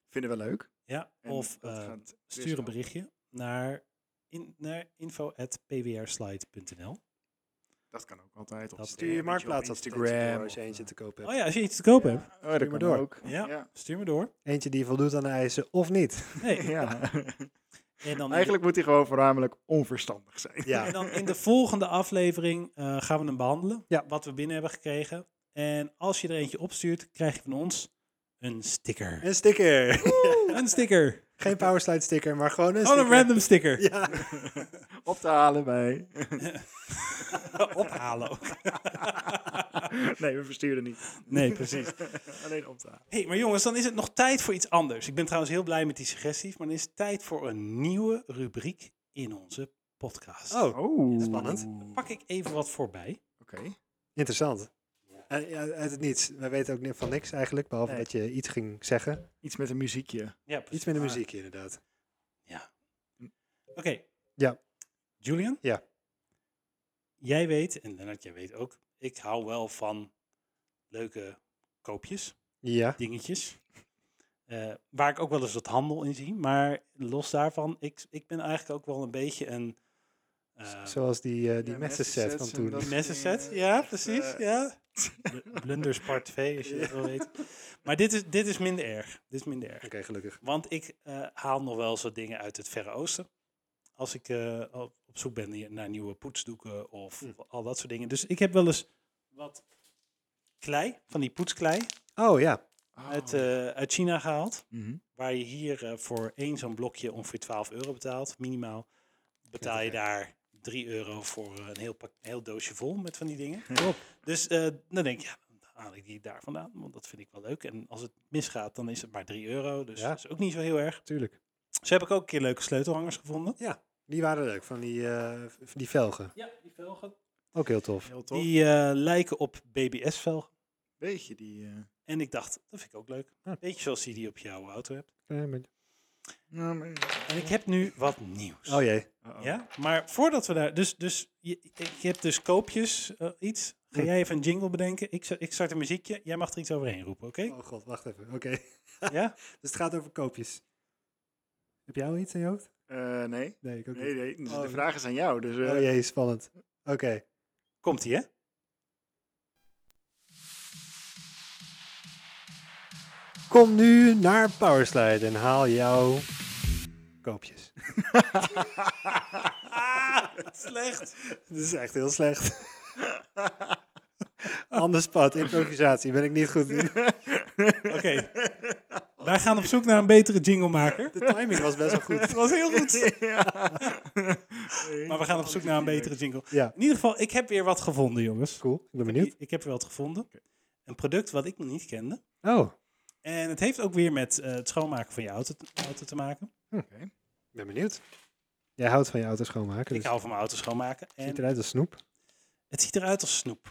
Speaker 1: Vinden we leuk.
Speaker 2: Ja,
Speaker 1: En
Speaker 2: of
Speaker 1: dat
Speaker 2: eh,
Speaker 1: gaat
Speaker 2: stuur een
Speaker 1: Chris
Speaker 2: berichtje naar, in, naar info.pwrslide.nl.
Speaker 1: Dat kan ook altijd. Of
Speaker 2: Dat-
Speaker 1: een
Speaker 3: [LAUGHS] Stuur je
Speaker 1: beetje
Speaker 3: marktplaats
Speaker 1: op
Speaker 3: als Instagram. Als
Speaker 1: of,
Speaker 3: je eentje
Speaker 1: eh,
Speaker 3: te kopen
Speaker 2: Oh
Speaker 3: hebt.
Speaker 2: ja, als je iets te koop hebt,
Speaker 1: Oh, dat
Speaker 3: Stuur
Speaker 1: kan
Speaker 3: maar door.
Speaker 1: ook.
Speaker 2: Ja. [LAUGHS] stuur me door.
Speaker 3: Eentje die voldoet aan de eisen of niet.
Speaker 2: [LAUGHS] Nee,
Speaker 1: [LAUGHS] Ja.
Speaker 2: en, dan in de,
Speaker 1: Eigenlijk moet hij gewoon voornamelijk onverstandig zijn.
Speaker 3: Ja.
Speaker 2: en dan in de volgende aflevering eh, gaan we hem behandelen.
Speaker 3: Ja.
Speaker 2: Wat we binnen hebben gekregen. En als je er eentje opstuurt, krijg je van ons een sticker.
Speaker 3: Een sticker.
Speaker 2: Een sticker.
Speaker 3: [LAUGHS] Geen powerslide sticker, maar gewoon een
Speaker 2: Gewoon
Speaker 3: sticker.
Speaker 2: een random sticker.
Speaker 3: Ja.
Speaker 1: [LAUGHS]
Speaker 3: [LAUGHS]
Speaker 1: Op te halen
Speaker 2: [LAUGHS]
Speaker 1: bij.
Speaker 2: Ophalen ook. [LAUGHS]
Speaker 1: nee, we versturen niet.
Speaker 2: Nee, precies.
Speaker 1: [LAUGHS] Alleen op te halen.
Speaker 2: Hé, hey, maar jongens, dan is het nog tijd voor iets anders. Ik ben trouwens heel blij met die suggesties, maar dan is het tijd voor een nieuwe rubriek in onze podcast.
Speaker 3: Oh,
Speaker 1: Oh.
Speaker 3: Spannend.
Speaker 1: Oké.
Speaker 2: Pak ik even wat voorbij.
Speaker 3: interessant. En, ja, uit het niets. We weten ook ni- van niks eigenlijk, behalve
Speaker 1: Nee.
Speaker 3: dat je iets ging zeggen.
Speaker 1: Iets met een muziekje.
Speaker 2: Ja,
Speaker 3: Iets met een muziekje inderdaad.
Speaker 2: Oké.
Speaker 3: Ja.
Speaker 2: Julian?
Speaker 3: Ja.
Speaker 2: Jij weet, en Lennart, jij weet ook, ik hou wel van leuke koopjes,
Speaker 3: Ja.
Speaker 2: dingetjes. Eh, waar ik ook wel eens wat handel in zie. Maar los daarvan, ik, ik ben eigenlijk ook wel een beetje een... eh,
Speaker 3: Z- Zoals die, eh, die
Speaker 1: ja,
Speaker 3: messen set van
Speaker 1: messensets en
Speaker 3: toen.
Speaker 1: dat-
Speaker 2: Die messenset,
Speaker 1: Eh,
Speaker 2: ja,
Speaker 1: echt,
Speaker 2: precies.
Speaker 1: eh, [LAUGHS]
Speaker 2: ja. Bl- Blunders part 2, als je dat wil weten. Maar dit is, dit is minder erg. Dit is minder erg.
Speaker 3: [LAUGHS] Oké, gelukkig.
Speaker 2: Want ik eh, haal nog wel zo dingen uit het Verre Oosten. Als ik eh, op op zoek ben hier naar nieuwe poetsdoeken of
Speaker 3: Hm.
Speaker 2: al dat soort dingen. Dus ik heb wel eens wat klei, van die poetsklei,
Speaker 3: Oh ja.
Speaker 2: uit, eh, uit China gehaald.
Speaker 1: Mhm.
Speaker 2: Waar je hier eh, voor één zo'n blokje ongeveer 12 euro betaalt, minimaal. Betaal je
Speaker 3: gek.
Speaker 2: daar 3 euro voor eh, een heel, pak, een heel doosje vol met van die dingen. Dus eh, dan denk je, ja, dan haal ik die daar vandaan, want dat vind ik wel leuk. En als het misgaat, dan is het maar 3 euro, dus
Speaker 3: Ja.
Speaker 2: dat is ook niet zo heel erg.
Speaker 3: Tuurlijk.
Speaker 2: Zo heb ik ook een keer leuke sleutelhangers gevonden.
Speaker 3: Die waren leuk, van die, eh, van die velgen.
Speaker 2: Ja, die velgen.
Speaker 3: Ook heel tof.
Speaker 1: Heel tof.
Speaker 2: Die eh, lijken op BBS-velgen.
Speaker 1: Weet je die... eh,
Speaker 2: En ik dacht, dat vind ik ook leuk.
Speaker 3: Ja.
Speaker 2: Beetje zoals je die op jouw auto hebt.
Speaker 3: Klein beetje.
Speaker 1: nou, maar-
Speaker 2: En ik heb nu wat nieuws.
Speaker 3: Oh jee.
Speaker 1: Uh-oh.
Speaker 2: Ja, maar voordat we daar. Dus, dus je, ik heb dus koopjes, eh, iets. Ga
Speaker 3: Hm.
Speaker 2: jij even een jingle bedenken? Ik, sta- ik start een muziekje. Jij mag er iets overheen roepen, oké?
Speaker 3: Oh god, wacht even. Oké.
Speaker 2: Ja?
Speaker 3: [LAUGHS] Dus het gaat over koopjes. Heb jij al iets in je hoofd?
Speaker 1: Eh, nee.
Speaker 3: Nee, ik ook
Speaker 1: Nee, nee. Dus
Speaker 3: Oh,
Speaker 1: de
Speaker 3: nee.
Speaker 1: vraag is aan jou. Dus, eh,
Speaker 3: Oh
Speaker 1: [LAUGHS]
Speaker 3: jee, spannend. Oké.
Speaker 2: Komt ie, hè?
Speaker 3: Kom nu naar Powerslide en haal jouw koopjes.
Speaker 2: Ah, [LAUGHS] Slecht.
Speaker 3: [LAUGHS] Dit is echt heel [LAUGHS] slecht. Anders pad, improvisatie ben ik niet goed in.
Speaker 2: Oké. Wij gaan op zoek naar een betere jinglemaker.
Speaker 3: De timing was best wel goed.
Speaker 2: Het was heel [LAUGHS] goed.
Speaker 1: Nee.
Speaker 2: Maar we gaan op zoek naar een betere jingle.
Speaker 3: Ja,
Speaker 2: In ieder geval, ik heb weer wat gevonden, jongens.
Speaker 3: cool. Ik ben benieuwd.
Speaker 2: Ik, ik heb weer wat gevonden. Een product wat ik nog niet kende.
Speaker 3: Oh,
Speaker 2: En het heeft ook weer met eh, het schoonmaken van je auto te, auto te maken.
Speaker 1: Oké.
Speaker 3: ik ben benieuwd. Jij houdt van je auto schoonmaken.
Speaker 2: Ik
Speaker 3: Dus
Speaker 2: hou van mijn auto schoonmaken.
Speaker 3: het ziet
Speaker 2: En
Speaker 3: eruit als snoep.
Speaker 2: het ziet eruit als snoep.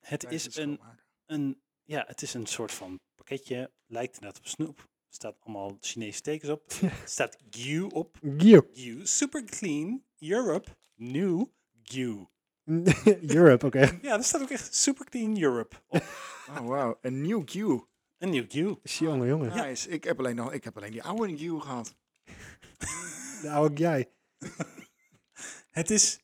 Speaker 2: Het
Speaker 1: Tijdens
Speaker 2: is
Speaker 1: het
Speaker 2: een,
Speaker 1: schoonmaken.
Speaker 2: een, ja, het is een soort van pakketje. Lijkt inderdaad op snoep. staat allemaal Chinese tekens
Speaker 3: [LAUGHS]
Speaker 2: op. Er staat GU op.
Speaker 3: Europe.
Speaker 2: GU. Super clean. Europe. New. GU.
Speaker 3: [LAUGHS] Europe, oké.
Speaker 2: Ja, er staat ook echt Super clean Europe. Op.
Speaker 3: [LAUGHS]
Speaker 1: Oh, wauw. Een nieuw Q.
Speaker 2: Een nieuw GU.
Speaker 3: Jongen, jongen.
Speaker 1: Nice. Ik, heb alleen nog, ik heb alleen die oude Q gehad.
Speaker 3: De oude jij.
Speaker 2: Het is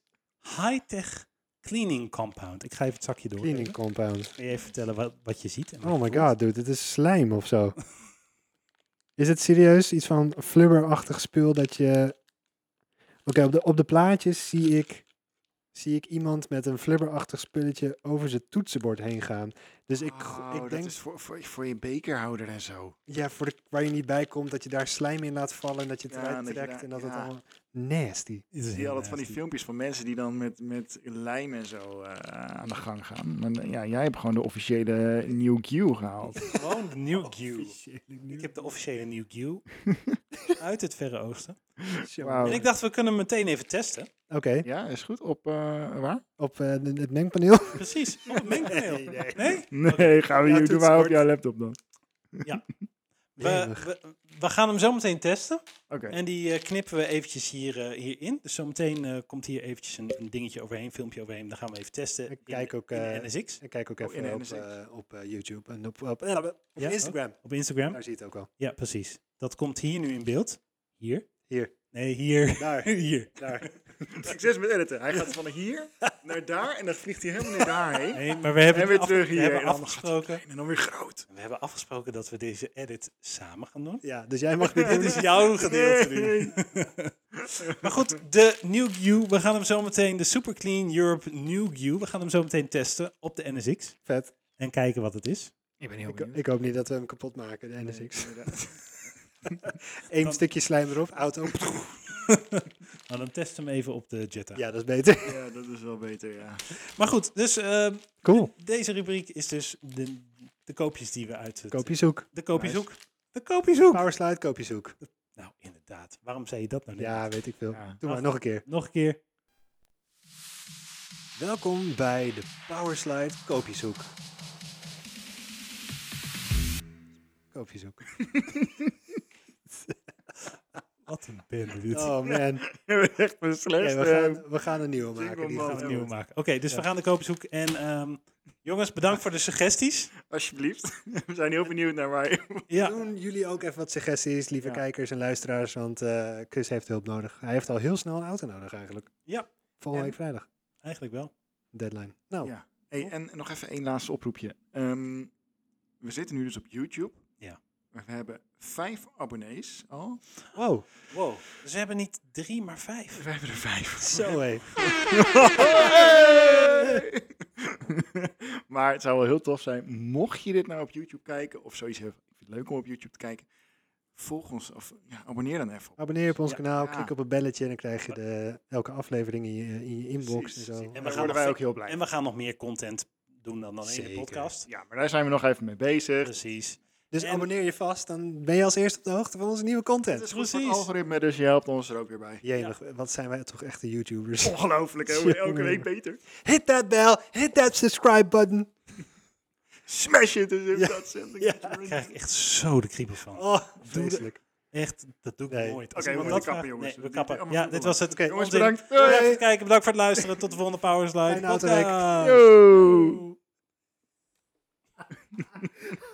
Speaker 2: high-tech cleaning compound. Ik ga even het zakje door.
Speaker 3: Cleaning compound.
Speaker 2: Kun je even vertellen wat, wat je ziet? en wat
Speaker 3: Oh
Speaker 2: je
Speaker 3: my
Speaker 2: voelt?
Speaker 3: god, dude. Dit is slijm of zo. Is het serieus iets van flubberachtig spul dat je... Oké, op, de, op de plaatjes zie ik, zie ik iemand met een flubberachtig spulletje over zijn toetsenbord heen gaan. Dus ik,
Speaker 1: Oh,
Speaker 3: ik
Speaker 1: dat
Speaker 3: denk,
Speaker 1: is voor, voor, voor je bekerhouder en zo.
Speaker 3: ja, voor de, waar je niet bij komt, dat je daar slijm in laat vallen en dat je het
Speaker 1: Ja,
Speaker 3: eruit
Speaker 1: dat je
Speaker 3: trekt
Speaker 1: daar-
Speaker 3: en dat het
Speaker 1: ja.
Speaker 3: allemaal... Nasty.
Speaker 2: Dit is
Speaker 1: Zie je
Speaker 2: heel
Speaker 1: altijd van die
Speaker 2: nasty.
Speaker 1: filmpjes van mensen die dan met, met lijm en zo eh, aan de gang gaan. Maar, eh, ja, jij hebt gewoon de officiële nieuw Q gehaald.
Speaker 2: [LAUGHS] Gewoon de Oh, New Q. Ik heb de officiële New Q [LAUGHS] uit het Verre Oosten.
Speaker 3: Oh.
Speaker 1: Wauw.
Speaker 2: En ik dacht, we kunnen hem meteen even testen.
Speaker 3: Oké,
Speaker 1: Ja, is goed. Op eh, waar?
Speaker 3: op eh, de- het mengpaneel.
Speaker 2: Precies,
Speaker 3: [LAUGHS]
Speaker 2: op het mengpaneel. Nee,
Speaker 1: Nee, gaan we
Speaker 3: Ja,
Speaker 1: hier doen maar op
Speaker 3: toetsenbord.
Speaker 1: jouw laptop dan.
Speaker 2: We, we, we gaan hem zo meteen testen.
Speaker 1: Oké.
Speaker 2: En die eh, knippen we eventjes hier, eh, hierin. Dus zometeen eh, komt hier eventjes een, een dingetje overheen, filmpje overheen. Dan gaan we even testen.
Speaker 3: Ik
Speaker 2: in-
Speaker 3: kijk ook,
Speaker 2: in de
Speaker 3: eh,
Speaker 2: NSX.
Speaker 3: Ik kijk ook
Speaker 1: Oh, in
Speaker 3: even op,
Speaker 1: NSX.
Speaker 3: eh, op eh, YouTube en op, op, op
Speaker 2: Ja,
Speaker 3: Instagram.
Speaker 2: Op Instagram.
Speaker 3: Daar zie je het ook al.
Speaker 2: Ja, precies. Dat komt hier nu in beeld. Hier.
Speaker 3: Hier.
Speaker 2: Nee, hier.
Speaker 3: Daar,
Speaker 2: [LAUGHS] hier.
Speaker 3: daar.
Speaker 1: Succes met editen. Hij gaat van hier naar daar en dan vliegt hij helemaal naar daarheen.
Speaker 2: Nee, maar we hebben,
Speaker 1: En weer
Speaker 2: af-
Speaker 1: terug
Speaker 2: we
Speaker 1: hier.
Speaker 2: hebben
Speaker 1: En dan gaat
Speaker 2: afgesproken.
Speaker 1: En dan weer groot.
Speaker 2: We hebben afgesproken dat we deze edit samen gaan doen.
Speaker 3: Ja, dus jij mag dit
Speaker 2: Dit
Speaker 3: doen.
Speaker 2: is jouw gedeelte nu. maar goed, de New View. We gaan hem zo meteen, de Super Clean Europe New View. We gaan hem zo meteen testen op de NSX.
Speaker 3: Vet.
Speaker 2: En kijken wat het is.
Speaker 1: Ik ben heel
Speaker 3: Ik, ik hoop niet dat we hem kapot maken, de NSX. [LAUGHS] Eén
Speaker 2: Dan-
Speaker 3: stukje slijm erop, auto.
Speaker 2: Nou, dan testen we hem even op de Jetta.
Speaker 3: Ja, dat is beter.
Speaker 1: Ja, dat is wel beter, [LAUGHS] ja.
Speaker 2: Maar goed, dus eh,
Speaker 3: Cool.
Speaker 2: deze rubriek is dus de, de koopjes die we uit het...
Speaker 3: Koop je zoek.
Speaker 2: De koopjes
Speaker 1: Nice.
Speaker 2: ook. De koopjes ook.
Speaker 3: Powerslide, koop je zoek.
Speaker 2: Nou, inderdaad. Waarom zei je dat nou net?
Speaker 3: Ja, weet ik veel.
Speaker 1: Ja. Ah.
Speaker 3: Doe maar nog een keer.
Speaker 2: Nog een keer.
Speaker 3: Welkom bij de Powerslide, koop je zoek. Koop je zoek.
Speaker 2: Wat een bende dit.
Speaker 3: Oh man.
Speaker 1: Echt eh. mijn
Speaker 3: Oké,
Speaker 1: slechtste.
Speaker 3: we, gaan, we gaan een nieuwe maken. Die
Speaker 1: Jingle man.
Speaker 3: gaan
Speaker 2: gaan we
Speaker 3: we
Speaker 2: nieuw
Speaker 3: doen.
Speaker 2: maken. Oké, dus we gaan de koopjes zoeken. En ehm, jongens, bedankt voor de [LAUGHS] suggesties.
Speaker 1: Alsjeblieft. [LAUGHS] We zijn heel benieuwd naar waar je...
Speaker 2: Ja,
Speaker 3: Doen jullie ook even wat suggesties, lieve
Speaker 1: Ja.
Speaker 3: kijkers en luisteraars, want eh, Chris heeft hulp nodig. Hij heeft al heel snel een auto nodig eigenlijk.
Speaker 2: Ja.
Speaker 3: Volgende
Speaker 1: En-
Speaker 3: week vrijdag,
Speaker 2: eigenlijk wel.
Speaker 3: deadline. Nou,
Speaker 1: Ja. Hey, en nog even één laatste oproepje. Ehm, we zitten nu dus op YouTube.
Speaker 2: Ja.
Speaker 1: We hebben vijf abonnees al.
Speaker 3: wow,
Speaker 2: Wow, dus we hebben niet drie, maar vijf.
Speaker 1: We hebben er vijf.
Speaker 3: zo hé.
Speaker 1: Hey! [LAUGHS] maar het zou wel heel tof zijn, mocht je dit nou op YouTube kijken, of zoiets hebben, ik vind het leuk om op YouTube te kijken, volg ons, of ja, abonneer dan even. op.
Speaker 3: Abonneer je op ons
Speaker 2: Ja.
Speaker 3: kanaal,
Speaker 1: Ja.
Speaker 3: klik op het belletje en dan krijg je de, elke aflevering in je, eh, in je inbox
Speaker 1: Precies.
Speaker 3: en zo.
Speaker 1: En
Speaker 2: gaan
Speaker 1: daar
Speaker 2: nog
Speaker 1: worden wij
Speaker 2: ve-
Speaker 1: ook heel blij.
Speaker 2: En we gaan nog meer content doen dan alleen de
Speaker 3: Zeker.
Speaker 2: podcast.
Speaker 1: Ja, maar daar zijn we nog even mee bezig.
Speaker 2: Precies.
Speaker 3: Dus
Speaker 2: en-
Speaker 3: abonneer je vast, dan ben je als eerste op de hoogte van onze nieuwe
Speaker 1: Het
Speaker 3: content.
Speaker 1: is goed voor het
Speaker 2: Precies.
Speaker 1: algoritme, dus je helpt ons er ook weer bij.
Speaker 3: Jemig, wat zijn wij toch echte YouTubers.
Speaker 1: Oh. Ongelooflijk, hè?
Speaker 3: Jongen,
Speaker 1: elke week
Speaker 3: jongen.
Speaker 1: beter.
Speaker 3: Hit that bell, hit that subscribe button.
Speaker 1: Smash it, dus
Speaker 3: Ja.
Speaker 1: dat zending.
Speaker 3: Ja.
Speaker 2: Daar krijg ik echt zo de kriebels van.
Speaker 3: Oh,
Speaker 2: Doe de-
Speaker 3: vreselijk.
Speaker 2: Echt, dat doe ik
Speaker 3: Nee.
Speaker 2: nooit. Als
Speaker 1: Oké, we
Speaker 2: iemand
Speaker 1: moeten kappen,
Speaker 2: dat vraagt-
Speaker 1: jongens.
Speaker 2: Nee, we
Speaker 1: Dit is
Speaker 2: kappen.
Speaker 1: allemaal
Speaker 2: Ja, dit was het.
Speaker 3: Oké,
Speaker 1: Jongens,
Speaker 2: Onzin.
Speaker 1: bedankt.
Speaker 2: Bedankt voor
Speaker 1: Doei.
Speaker 2: het kijken, bedankt voor het luisteren. Tot de volgende Power Slide
Speaker 3: Fijne autoweek.
Speaker 2: podcast.
Speaker 1: Yo.